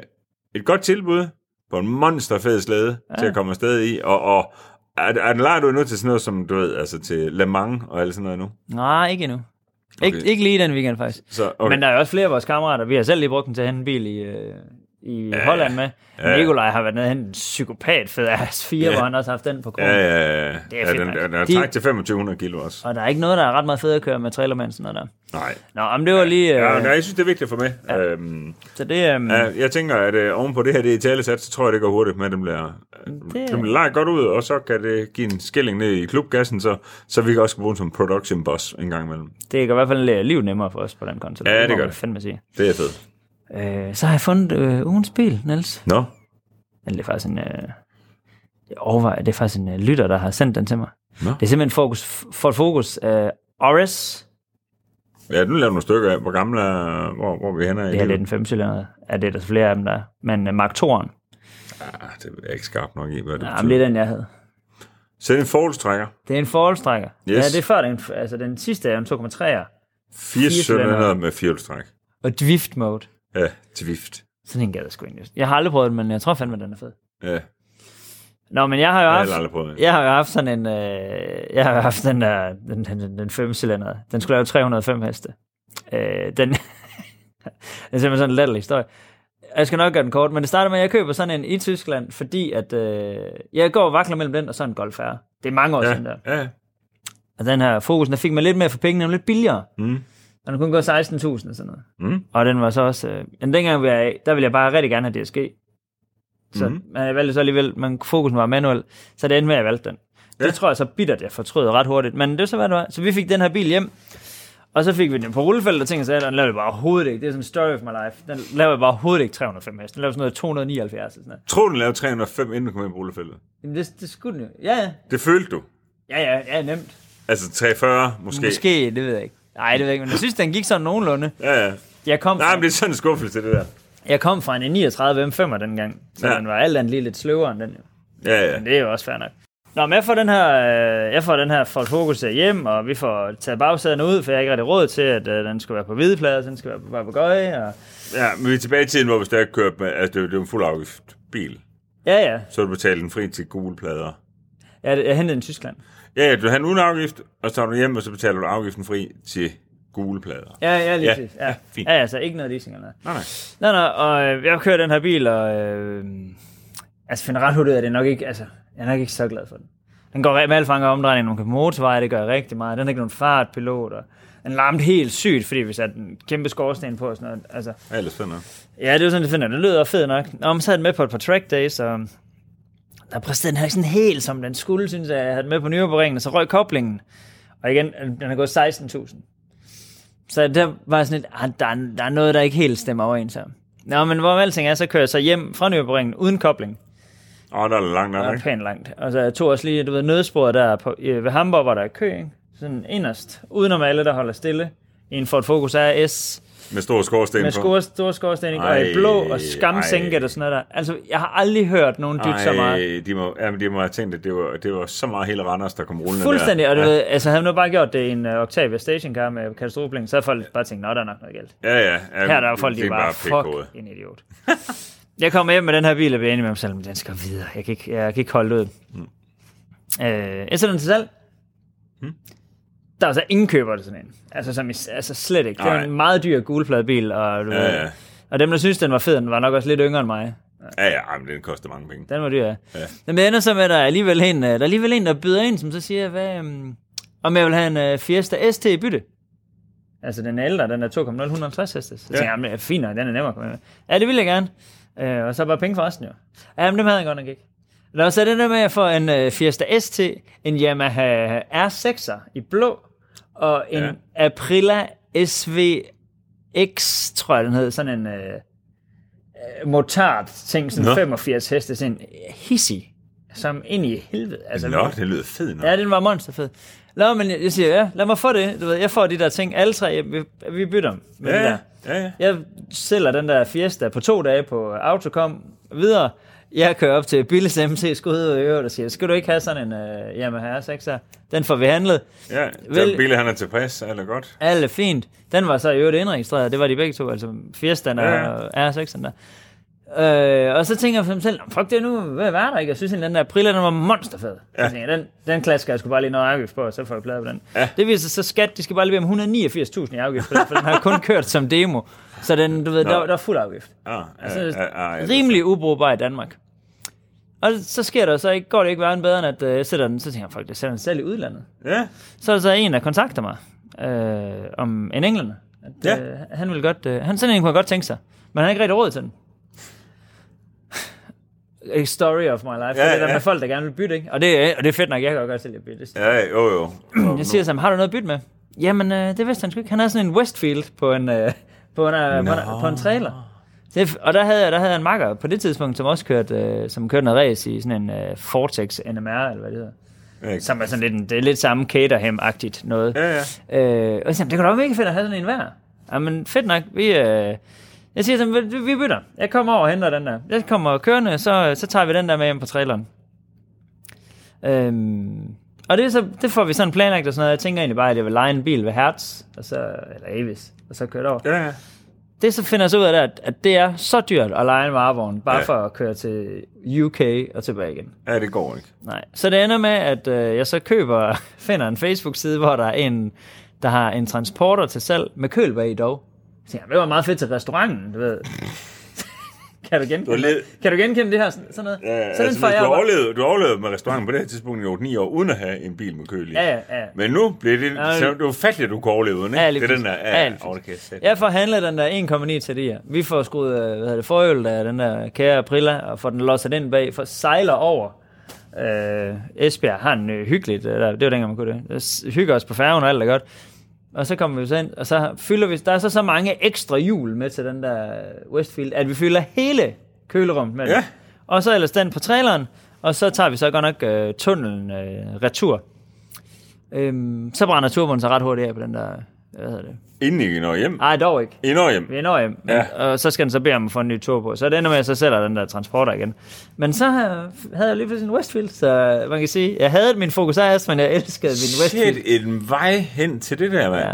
et godt tilbud på en monsterfed slæde ja. til at komme afsted i, og, og er, er den lejer du endnu til sådan noget som, du ved, altså til Le Mans og alt sådan noget nu? Nej, ikke endnu. Ikke, ikke lige den weekend, faktisk. Så, Okay. okay. Men der er jo også flere af vores kammerater. Vi har selv lige brugt den til at hente en bil i, øh, i ja, Holland med. Ja. Nikolaj har været nede og hentet en psykopat fed AS4, ja. hvor han også har haft den på krogen. ja, Ja, ja. ja, ja, ja. Det er ja, fedt, den, mand. den, er De- træk til 2500 kilo også. Og der er ikke noget, der er ret meget fedt at køre med trailermand sådan noget der. Nej. Nå, om det var lige... Øh, Ja, ja, nej, jeg synes, det er vigtigt for mig. Ja. Øhm, Så det, øh, ja. ja, jeg tænker, at øh, ovenpå det her, det er i talesat, så tror jeg, det går hurtigt, men dem bliver, Det- det... dem lejer godt ud, og så kan det give en skilling ned i klubkassen, så, så vi kan også bruge den som production boss en gang imellem. det gør i hvert fald øh, livet nemmere for os på den konto. Ja, det må gør man det. Fandme sige. Det er fedt. Øh, så har jeg fundet øh, ugens bil, Niels. Nå, Eller det er faktisk en... Øh, jeg overvejer, det er faktisk en øh, lytter, der har sendt den til mig. Nå. Det er simpelthen fokus, Ford Focus øh, RS Ja, nu laver nogle stykker af. Hvor gamle er, hvor, hvor er vi henne? Det her det er den femcylinder. Ja, det er der flere af dem, der er. Men uh, Mark 2'eren, Ah, det er jeg ikke skarp nok i, hvad det jamen, betyder. det er den, jeg havde. Sæt en forholdstrækker. Det er en forholdstrækker. Yes. Yes. Ja, det er før den, altså den sidste er en 2,3'er. Fire cylinder. cylinder med firehjulstræk. Og drift mode. Ja, til vift. Sådan en gad jeg sgu egentlig. Jeg har aldrig prøvet den, men jeg tror fandme, den er fed. Ja, Nå, men jeg har jo jeg har haft, heller aldrig prøvet det. jeg har jo haft sådan en, øh, jeg har jo haft den der, den, den, den, den femcylinder. Den skulle lave 305 heste. Øh, den, det er simpelthen sådan en latterlig historie. Jeg skal nok gøre den kort, men det starter med, at jeg køber sådan en i Tyskland, fordi at, øh, jeg går og vakler mellem den og sådan en Golf R. Det er mange år ja. siden der. Ja, ja. Og den her Focus, der fik man lidt mere for pengene, og lidt billigere. Mm. Og den kunne gå 16.000 og sådan noget. Mm. Og den var så også... Øh, men dengang, vi var i, der ville jeg bare rigtig gerne have DSG. Så Mhm. mm. jeg valgte så alligevel, men fokusen var manuel, så det endte med, at jeg valgte den. Ja. Ja. Det tror jeg så bittert, jeg fortrød ret hurtigt, men det var så, hvad det var. Så vi fik den her bil hjem, og så fik vi den på rullefelt og ting, og så den lavede jeg bare overhovedet ikke. Det er sådan en story of my life. Den lavede jeg bare overhovedet ikke 305 hest. Den lavede sådan noget 279 eller sådan noget. Tror den lavede 305, inden du kom ind på rullefældet? Jamen, det, det skulle den jo. Ja, ja. Det følte du. Ja, ja, ja, nemt. Altså 340 måske. Måske, det ved jeg ikke. Nej, det ved jeg ikke, men jeg synes, den gik sådan nogenlunde. Ja, ja. Jeg kom, Nej, fra, men det er sådan en skuffelse, det der. jeg kom fra en 39 M5'er dengang, så ja. Ja. den var alt andet lige lidt sløvere end den jo. Ja, ja. Men det er jo også fair nok. Nå, men jeg får den her, øh, jeg får den her Ford Focus her hjem, og vi får taget bagsæderne ud, for jeg har ikke rigtig råd til, at øh, den skal være på hvide plader, så den skal være på papagøje, og Ja, men vi er tilbage i tiden, hvor vi stadig kørte med, altså det er jo- det er jo en fuld afgift bil. ja, ja. Så du betalte den fri til gule plader. Jeg, jeg hentede den i Tyskland. Ja, ja, du har en uden afgift, og så tager du hjem, og så betaler du afgiften fri til gule plader. Ja, ja, lige Ja, præcis. Ja, ja, ja, fint. ja, altså ikke noget leasing eller noget. Nej, nej. Nå, nå, og øh, jeg kører den her bil, og øh, altså finder ret hurtigt ud af, at det er nok ikke, altså, jeg er nok ikke så glad for den. Den går re- med alt fanger omdrejning, nogle motorveje, det gør jeg rigtig meget. Den har ikke nogen fartpilot, og den larmte helt sygt, fordi vi satte en kæmpe skorsten på og sådan noget. Altså, Ja, ellers fedt nok. Ja, det er jo sådan, det finder. Det lyder fedt nok. Nå, men så havde den med på et par track days, og der præsterede den her ikke sådan helt, som den skulle, synes jeg. Jeg havde den med på nyoperingen, og så røg koblingen. Og igen, den er gået 16.000. Så der var jeg sådan lidt, ah, der, er- der er noget, der ikke helt stemmer overens her. Nå, men hvor alting er, så kører jeg så hjem fra nyoperingen uden kobling. Åh, oh, der er langt nok, Det var ikke? pænt langt. Og så jeg tog også lige, du ved, nødsporet der på, øh, ved Hamburg, hvor der er kø, ikke? Sådan inderst, udenom alle, der holder stille. en Ford Focus RS Med stor skorsten med på. store, store skorsten, og i Ej, blå og ej. skamsænket og sådan noget der. Altså, jeg har aldrig hørt nogen dytte så meget. Ej, de må, ja, men de må have tænkt, at det var, det var så meget hele Randers, der kom rullende Fuldstændig, der. og du ved, altså havde man nu bare gjort det i en uh, Octavia stationcar med katastrofebling, så havde folk bare tænkt, nå, der er nok noget galt. Ja, ja. ja Her er der jo folk, det der er bare, pikhoved. fuck, en idiot. jeg kommer hjem med den her bil og bliver enig med mig selv, men den skal videre. Jeg kan ikke, jeg kan ikke holde det ud. Mm. Øh, jeg sætter den til salg. Hmm? Der er så ingen køber det sådan en. Altså, som i, altså slet ikke. Det er Nej. en meget dyr gulpladebil, og, du Ja, ved, ja. og dem, der synes, den var fed, den var nok også lidt yngre end mig. Ja, ja, ej, men den koster mange penge. Den var dyr, ja. Men det ender så med, at der er alligevel en, øh, der er alligevel en, der byder ind, som så siger, hvad, um, om jeg vil have en uh, Fiesta ST i bytte. Altså den er ældre, den er 2,050 hestes. Så Ja. ja. tænker jeg, "Jamen, fint nok, den er nemmere at komme af med. Ja, det vil jeg gerne. Øh, og så bare penge for resten jo. Ja, men dem havde jeg godt nok ikke. Nå, så det der med, at jeg får en uh, Fiesta ST, en Yamaha R6'er i blå, og en Ja. ja. Aprilia SVX, tror jeg den hed, sådan en... Uh, motard ting, sådan Nå. Nå. 85 heste, sådan en hissig, som ind i helvede. Altså, Nå, det lyder fedt nok. Ja, den var monsterfed. Nå, men jeg jeg siger, ja, lad mig få det. Du ved, jeg får de der ting, alle tre, vi, vi bytter dem med det ja, der. ja, ja. Jeg sælger den der Fiesta på to dage på Autocom videre. Jeg kører op til Billes MC Skud og øvrigt og siger, skal du ikke have sådan en uh, Yamaha 6'er? Den får vi handlet. ja. Vel... Vel- Bille, han er tilfreds, alt er godt. Alt er fint. Den var så i øvrigt indregistreret, det var de begge to, altså Fiesta'en Ja. og R6'en der. Øh, og så tænker jeg for mig selv, "Nå, fuck det er nu, hvad var der ikke? Jeg synes, at den der Aprila, den var monsterfed. Ja. Jeg tænker, den, den klasker jeg skulle bare lige noget afgift på, og så får jeg plader på den. Ja. Det viser sig så skat, de skal bare levere om 189.000 i afgift, for den, for den har kun kørt som demo. Så den, du ved, der, der er fuld afgift. Ah, Altså, ja, ja, ja, ja. rimelig ubrugbar i Danmark. Og så sker der så ikke, går det ikke værre end bedre, end at øh, jeg sætter den, så tænker jeg, fuck, det sætter den selv i udlandet Ja, så er der så en, der kontakter mig øh, om en englænder. At, Ja. ja. øh, han vil godt, øh, han sådan en kunne han godt tænke sig, men han har ikke rigtig råd til den. A story of my life. Ja, det er ja. der med folk, der gerne vil bytte, ikke? Og det, er- og det er fedt nok, jeg kan godt selv at bytte. ja, jo, jo. Jeg siger til ham, har du noget at bytte med? Jamen, øh, det vidste han sgu ikke. Han havde sådan en Westfield på en, øh, på en, øh, på en, Nå. på en trailer. Det, og der havde, jeg, der havde jeg en makker på det tidspunkt, som også kørte, øh, som kørte noget race i sådan en øh, Vortex NMR, eller hvad det hedder. Ja, Som er sådan lidt, en, det er lidt samme Caterham-agtigt noget. ja, ja. Øh, og så, det kunne da være mega fedt at have sådan en hver. Jamen, fedt nok. Vi, øh, jeg siger til dem, vi, vi bytter. Jeg kommer over og henter den der. Jeg kommer kørende, så, så tager vi den der med hjem på traileren. Øhm, og det, er så, det får vi sådan planlagt og sådan noget. Jeg tænker egentlig bare, at jeg vil lege en bil ved Hertz, og så, eller Avis, og så køre det over. ja, ja. Det så finder jeg så ud af, det, at, at det er så dyrt at lege en varevogn, bare Ja. ja. for at køre til UK og tilbage igen. ja det går ikke. Nej. Så det ender med, at øh, jeg så køber, finder en Facebook-side, hvor der er en, der har en transporter til salg med køl bag i dog. Så tænker jeg, det var meget fedt til restauranten, du ved. kan, du Du er genkende, lidt- kan du genkende det her? Sådan sådan noget. Ja, så altså, får hvis jeg du, jo bare- overlevede, du overlevede med restauranten på det her tidspunkt i 8-9 år, uden at have en bil med køl i. Ja, ja, ja. Men nu bliver det, Ja, så det var fattigt, at du kunne overleve uden, ikke? Ja, lige det er den præcis. der, Ja, ja, lige præcis. ja, ja. Jeg får handlet den der 1,9 til det her. Vi får skruet øh, hvad hedder det, forhjul af den der kære Prilla, og får den losset ind bag, for sejler over. Øh, Esbjerg har en øh, hyggeligt, eller, det var dengang man kunne det. Øh, s- Hygger os på færgen og alt er godt. Og så kommer vi så ind, og så fylder vi, der er så så mange ekstra hjul med til den der øh, Westfield, at vi fylder hele kølerummet med Ja. det. Og så ellers den på traileren, og så tager vi så godt nok øh, tunnelen øh, retur. Øhm, så brænder turboen sig ret hurtigt af på den der, øh, hvad hedder det? Inden I når hjem. Nej, dog ikke. I når hjem. Ah. Vi når hjem, men, Ja. ja. og så skal den så bede om at få en ny tur på. Så det ender med, at jeg så sælger den der transporter igen. Men så øh, havde jeg lige pludselig en Westfield, så man kan sige, jeg havde min Focus RS, men jeg elskede min Westfield. Shit, en vej hen til det der, mand. Ja.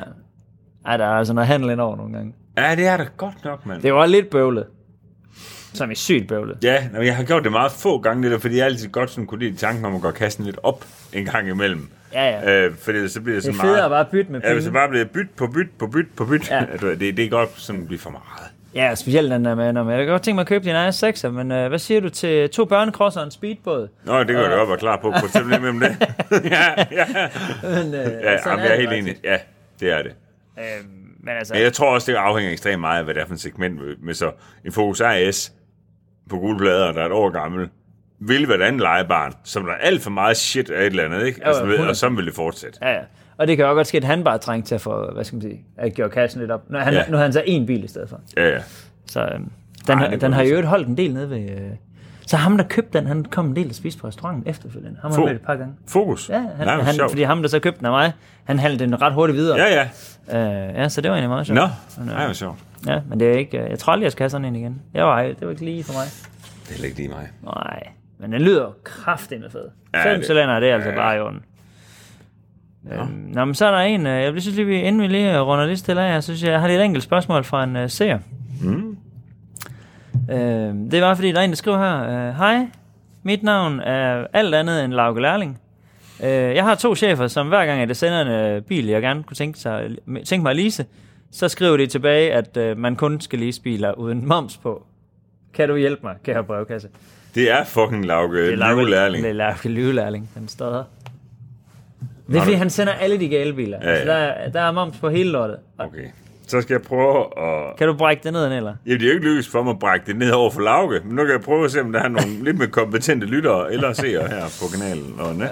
Ej, der er altså noget handel indover nogle gange. Ja, det er da godt nok, mand. Det var lidt bøvlet. Som i sygt bøvlet. Ja, nå, men jeg har gjort det meget få gange, det der, fordi jeg altid godt sådan kunne lide tanken om at gøre kassen lidt op en gang imellem. Ja, ja. Øh, fordi så bliver det Det sådan er federe meget... at bare bytte med Ja, hvis det penge. bare bliver byt på byt på byt på byt, ja. Ja. det, det er godt sådan blive for meget. Ja, og specielt den der med, når man, jeg kan godt tænke mig at købe din egen 6'er, men øh, hvad siger du til to børnekrosser og en speedbåd? Nå, det går det op og klar på, på simpelthen mellem det. ja, ja. Men, øh, ja sådan jamen, jeg er det helt bare. enig. Ja, det er det. Øh, men altså, Men jeg tror også, det afhænger ekstremt meget af, hvad det er for et segment med- med så en Focus RS på gule plader, der er et år gammel, vil være et andet legebarn, som der er alt for meget shit af et eller andet, ikke? Jo, Altså, ved- 100. og sådan vil det fortsætte. Ja, ja. Og det kan også godt ske, at han bare trængte til at få, hvad skal man sige, at gøre kassen lidt op. Nu har han, Ja. ja. nu har han så én bil i stedet for. Ja, ja. Så øhm, den, Ej, Ej, det den må har man jo sige. øvrigt holdt en del nede ved, øh, Så ham, der købte den, han kom en del og spiste på restauranten efterfølgende. Ham har Fo- mødt et par gange. Fokus. Ja, han, Nej, Nej, hvor han, sjovt. fordi ham, der så købte den af mig, han handlede den ret hurtigt videre. Ja, ja. Øh, ja, så det var egentlig meget sjovt. Nå, Men, øh, nej, hvor sjovt. Ja, men det er ikke... øh, Jeg tror aldrig, jeg skal have sådan en igen. Jeg var, det var ikke lige for mig. Det er heller ikke lige mig. Nej, men den lyder kraftigt med fed. Ja, Ja, Fem det- cylinder, det er altså ja. bare i orden. Øhm, nå, men så er der en, øh, jeg synes lige, vi, inden vi lige øh, runder lidt stille af, jeg synes, jeg har lige et enkelt spørgsmål fra en uh, seer. Mm. Øhm, det er bare fordi, der er en, der skriver her, øh, Hej, mit navn er alt andet end Lauke Lærling. Øh, jeg har to chefer, som hver gang, at jeg sender en øh, bil, jeg gerne kunne tænke, sig, tænke mig at lease, så skriver de tilbage, at øh, man kun skal lease biler uden moms på. Kan du hjælpe mig, kære brevkasse? Det er fucking Lauke. Det er lærling. Det er Lauke Lyvelærling, den stadig. Det er Nå, fordi, det- han sender alle de gale biler. Ja, ja. ja. Altså, der, er, der er moms på hele lortet. Og Okay. Så skal jeg prøve at... Kan du brække det ned, eller? Jamen, det er jo ikke lykkedes for mig at brække det ned over for Lauke, men nu kan jeg prøve at se, om der er nogle lidt mere kompetente lyttere eller seere her på kanalen. Og, ja.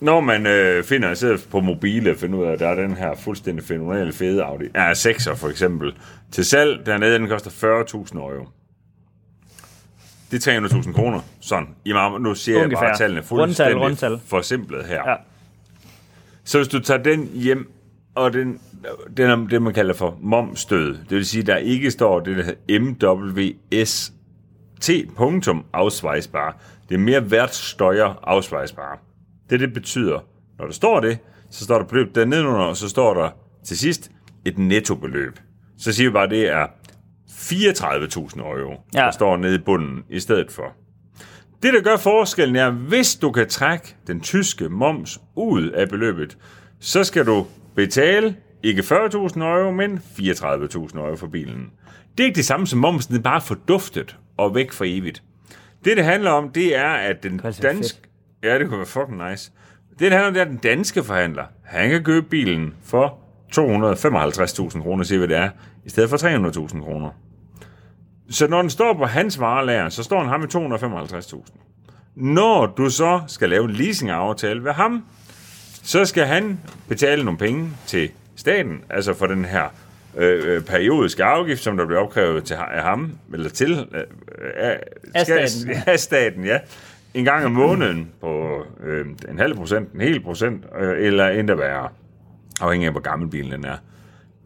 Når man øh, finder, sidder på mobile og finder ud af, at der er den her fuldstændig fenomenale fede Audi R6'er for eksempel, til salg dernede, den koster 40.000 euro. Det er 300.000 kroner. Sådan. I meget, nu siger Ungefær. jeg Ungefær. bare tallene Rundtal, fuldstændig rundtal. forsimplet her. Ja. Så hvis du tager den hjem, og den, den er det, man kalder for momstød, det vil sige, der ikke står det, der hedder MWST, punktum, afsvejsbar. Det er mere værtsstøjer afsvejsbar. Det, det betyder, når der står det, så står der beløb der nedenunder, og så står der til sidst et nettobeløb. Så siger vi bare, at det er 34.000 euro, ja. Ja. der står nede i bunden i stedet for. Det, der gør forskellen, er, hvis du kan trække den tyske moms ud af beløbet, så skal du betale ikke 40.000 euro, men 34.000 euro for bilen. Det er ikke det samme som momsen, det er bare forduftet og væk for evigt. Det, det handler om, det er, at den altså være danske... Ja, det kunne være fucking nice. Det, det handler om, det er, at den danske forhandler, han kan købe bilen for 255.000 kroner, siger vi det er, i stedet for 300.000 kroner. Så når den står på hans varelager, så står den ham i 255.000. Når du så skal lave en leasingaftale ved ham, så skal han betale nogle penge til staten, altså for den her øh, øh, periodiske afgift, som der bliver opkrævet til ha- af ham, eller til øh, øh, af, Af skal- staten. af staten, ja. En gang om måneden på øh, en halv procent, en hel procent, øh, eller endda værre, afhængig af, hvor gammel bilen den er.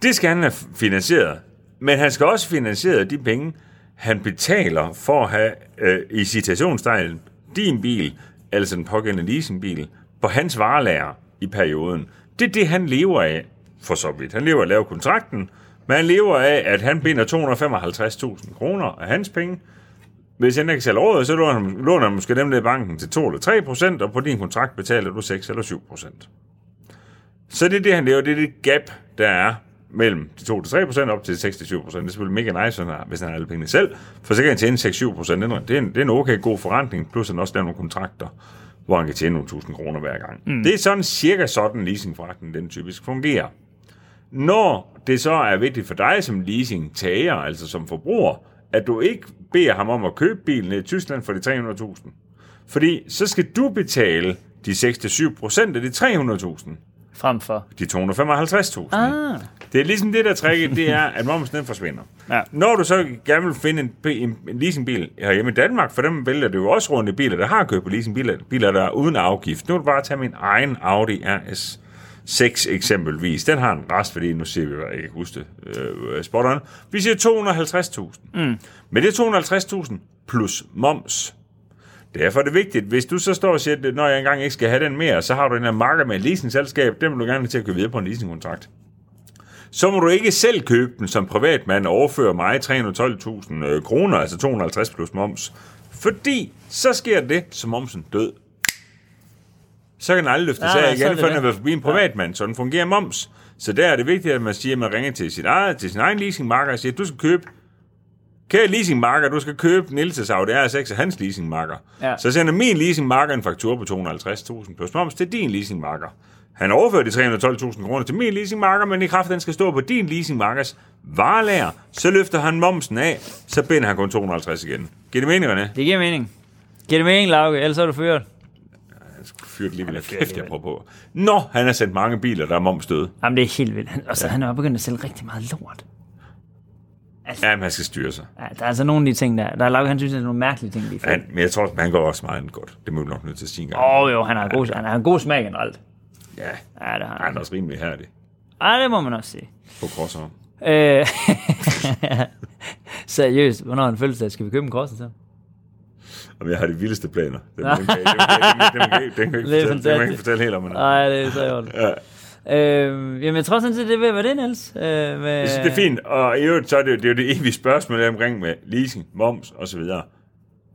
Det skal han have finansieret. Men han skal også finansiere de penge, han betaler for at have, øh, i citationstegn, din bil, altså den pågældende leasingbil, på hans varelager i perioden. Det er det, han lever af, for så vidt. Han lever af at lave kontrakten, men han lever af, at han binder 255.000 kroner af hans penge. Hvis han ikke sælger rådet, så låner han, låner han måske dem ned i banken til 2 eller 3 procent, og på din kontrakt betaler du 6 eller 7 procent. Så det er det, han laver. Det er det gap, der er mellem de 2-3% op til 6-7%. Det er selvfølgelig mega nice, hvis han har- hvis han har alle pengene selv, for så kan han tjene 6-7%. indre. Det er, en, det er en okay god forretning, plus han også laver nogle kontrakter, hvor han kan tjene nogle tusind kroner hver gang. Mm. Det er sådan cirka sådan, leasingforretningen den typisk fungerer. Når det så er vigtigt for dig som leasingtager, altså som forbruger, at du ikke beder ham om at købe bilen i Tyskland for de 300.000. Fordi så skal du betale de 6-7% af de 300.000 Frem for. de 255.000. Ah. Det er ligesom det der træk, det er, at momsen den forsvinder. Ja. Når du så gerne vil finde en, bi- en, en leasingbil herhjemme i Danmark, for dem vælger du jo også rundt i biler, der har købt på leasingbiler, biler der er uden afgift. Nu vil du bare tage min egen Audi RS 6 eksempelvis. Den har en rest, fordi nu siger vi, jeg kan ikke huske det, øh, spot on. Vi siger 250.000. Mm. Men det er 250.000 plus moms. Derfor er det vigtigt, hvis du så står og siger, at når jeg engang ikke skal have den mere, så har du den her marker med et leasingselskab, den vil du gerne have til at købe videre på en leasingkontrakt. Så må du ikke selv købe den som privatmand og overføre mig 312.000 øh, kroner, altså 250 plus moms. Fordi så sker det, som momsen død. Så kan den aldrig løfte sig Nej, af nej, så er igen, det for den er det. været forbi en privatmand, sådan fungerer moms. Så der er det vigtigt, at man siger, at man ringer til sin egen, til sin egen leasingmarker og siger, at du skal købe Kære leasingmarker, du skal købe Nils' Audi R6 af hans leasingmarker. Ja. Ja. Så sender min leasingmarker en faktur på 250.000 plus moms til din leasingmarker. Han overfører de 312.000 kroner til min leasingmarker, men i kraft af, den skal stå på din leasingmarkers varelager, så løfter han momsen af, så binder han kun 250 igen. Giver det mening, René? Det giver mening. Giver det mening, Lauke? Ellers er du fyret. Han skulle fyrt lige vildt. Kæft, jeg prøver på. Nå, han har sendt mange biler, der er momsdøde. Jamen, det er helt vildt. Han- Og så ja. han er jo begyndt at sælge rigtig meget lort. Altså, Ja, man skal styre sig. ja, der er altså nogle af de ting der. Der er Lauke, han synes, det er nogle mærkelige ting, de får. Han, men jeg tror, han går også meget godt. Det må vi nok nødt til at sige en gang. Åh oh, jo, han har, god, han har en god smag generelt. Ja, Ja, det har han han. er også rimelig herdig Ej, det må man også sige. på crossarm. Øh, seriøst, hvornår er en fødselsdag? Skal vi købe en korset til? ham? Jamen, jeg har de vildeste planer. Dem, dem, kan- dem, kan- dem, dem, kan- dem, kan jeg ikke Det er fortælle- dem, kan jeg ikke fantastisk. fortælle helt om. men- Nej, det er så jorden. Ja. Øh, jamen, jeg tror sådan set, det vil være det, Niels. Øh, med, Jeg synes, det er fint. Og i øvrigt, så er det, jo- det er jo det evige spørgsmål der omkring med leasing, moms og så videre.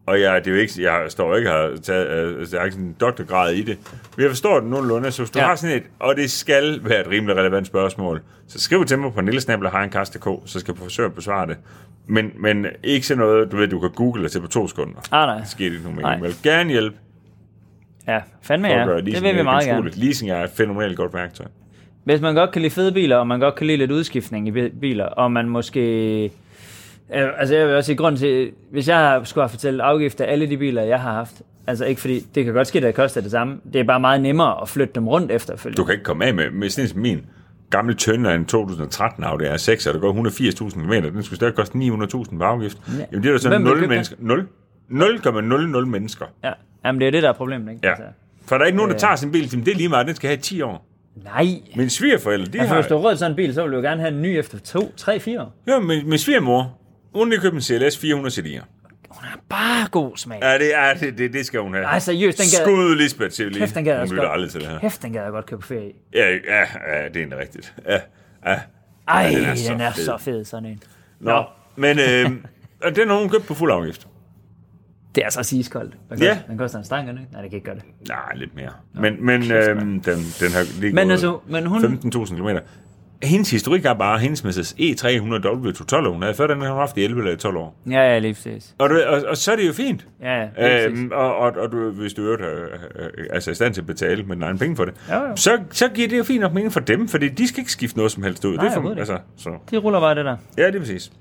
Og jeg, det er jo ikke, jeg står jo ikke og har taget, øh, jeg har ikke sådan en doktorgrad i det. Men jeg forstår det nogenlunde, så hvis du Ja. ja. har sådan et, og det skal være et rimelig relevant spørgsmål, så skriv til mig på nillesnablerhagenkast.dk, så skal jeg forsøge at besvare det. Men, men ikke sådan noget, du ved, du kan google dig til på to sekunder. Ah, nej. Det sker ikke nogen Nej. mening. Jeg vil gerne hjælpe. Ja, fandme for at ja. gøre Det leasing vil vi meget gerne. gennemskueligt. Leasing er et fænomenalt godt værktøj. Hvis man godt kan lide fede biler, og man godt kan lide lidt udskiftning i bi- biler, og man måske... Øh, altså jeg vil også sige, grund til, hvis jeg har- skulle have fortalt afgift af alle de biler, jeg har haft, altså ikke fordi, det kan godt ske, at det koster det samme, det er bare meget nemmere at flytte dem rundt efterfølgende. Du kan ikke komme af med, med sådan en som min gamle tønder en 2013 Audi R6, og der går 180.000 km, den skulle stadig koste 900.000 på afgift. Ja. Jamen det er der sådan Hvem vil 0 købe mennesker. 0? 0,00 mennesker. Ja, jamen det er jo det, der er problemet, ikke? Ja. Altså, For der er ikke nogen, der tager sin bil til, men det er lige meget, den skal have i 10 år. nej. Min svigerforældre, de Altså, hvis du har... har råd til sådan en bil, så vil du jo gerne have en ny efter to, tre, fire år. Ja, min, min svigermor, hun har købt en CLS 400 CD'er. Bare god smag. Ja, det, er, det, det, det skal hun have. Ej, seriøst, den gad- Skud Lisbeth til lige. Kæft, den gad jeg Hun også lytter godt. aldrig til det her. Hæft, den gad jeg godt købe på ferie i. Ja, ja, ja, det er egentlig rigtigt. Ja, ja. Ej, ja, den den er er, så den er fed. så fed, sådan en. Nå, men øh, og den har hun købt på fuld afgift. Det er så altså iskoldt. Den Ja. koster, den koster en stang, er den ikke? Nej, det kan ikke gøre det. Nej, lidt mere. Men, men øhm, den, den har lige Men gået altså, men hun- 15.000 km. Hendes historik er bare, hendes E Mrs. E300W12, hun havde før, den har hun haft i 11 eller 12 år. Ja, ja, lige præcis. Og, du, og, og så er det jo fint. Ja, ja, lige præcis. Øhm, og, og, og du, hvis du i øvrigt er øh, øh, altså er i stand til at betale med egen penge for det, Ja, ja. Så, så giver det jo fint nok mening for dem, fordi de skal ikke skifte noget som helst ud. Nej, det er for, overhovedet altså, så. De ruller bare det der. Ja, det er præcis.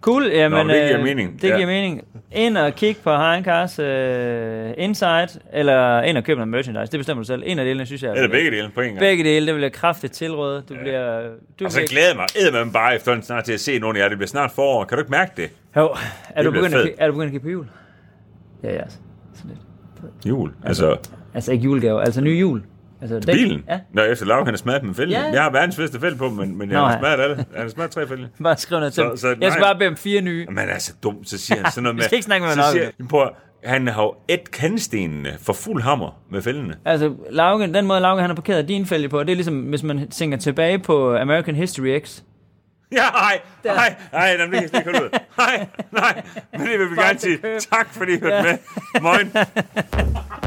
Cool, jamen, Nå, det giver øh, mening. Det Ja. giver mening. Ind og kig på Heinkars øh, Insight, eller ind og køb noget merchandise. Det bestemmer du selv. En af delene, synes jeg. er- Eller begge dele på en gang. Begge dele, det vil jeg kraftigt tilråde. Du bliver... Du Og så glæder jeg mig eddermame bare efterhånden snart til at se nogle af jer. Det bliver snart forår. Kan du ikke mærke det? Jo, er du, bliver begyndt at, fedt. ki- er du begyndt at kigge på jul? Ja, ja. Altså, Sådan lidt. Jul. Altså, altså ikke julegave, altså ny jul. Altså, dæk- Bilen? Ja. Ja, Når efter Lauke, han har smadret dem fælde. Ja. Ja. Jeg har verdens bedste fælde på, men, men jeg Nå, har ja. smadret alle. Han har smadret tre fælde. bare skriv noget til Så- dem. så Jeg skal nej. bare bede om fire nye. Men altså, dum, så siger han sådan noget Vi med... skal ikke snakke med så Lauke. siger, han, prøv, at- han har jo et kantstenene for fuld hammer med fældene. Altså, Laugen, den måde Laugen han har parkeret din fælge på, det er ligesom, hvis man tænker tilbage på American History X. Ja, nej, nej, nej, nej, det kan jeg slet ikke holde ud. Nej, nej, men det vil vi Fuck, gerne det køb. sige. Tak fordi I hørte med. Moin.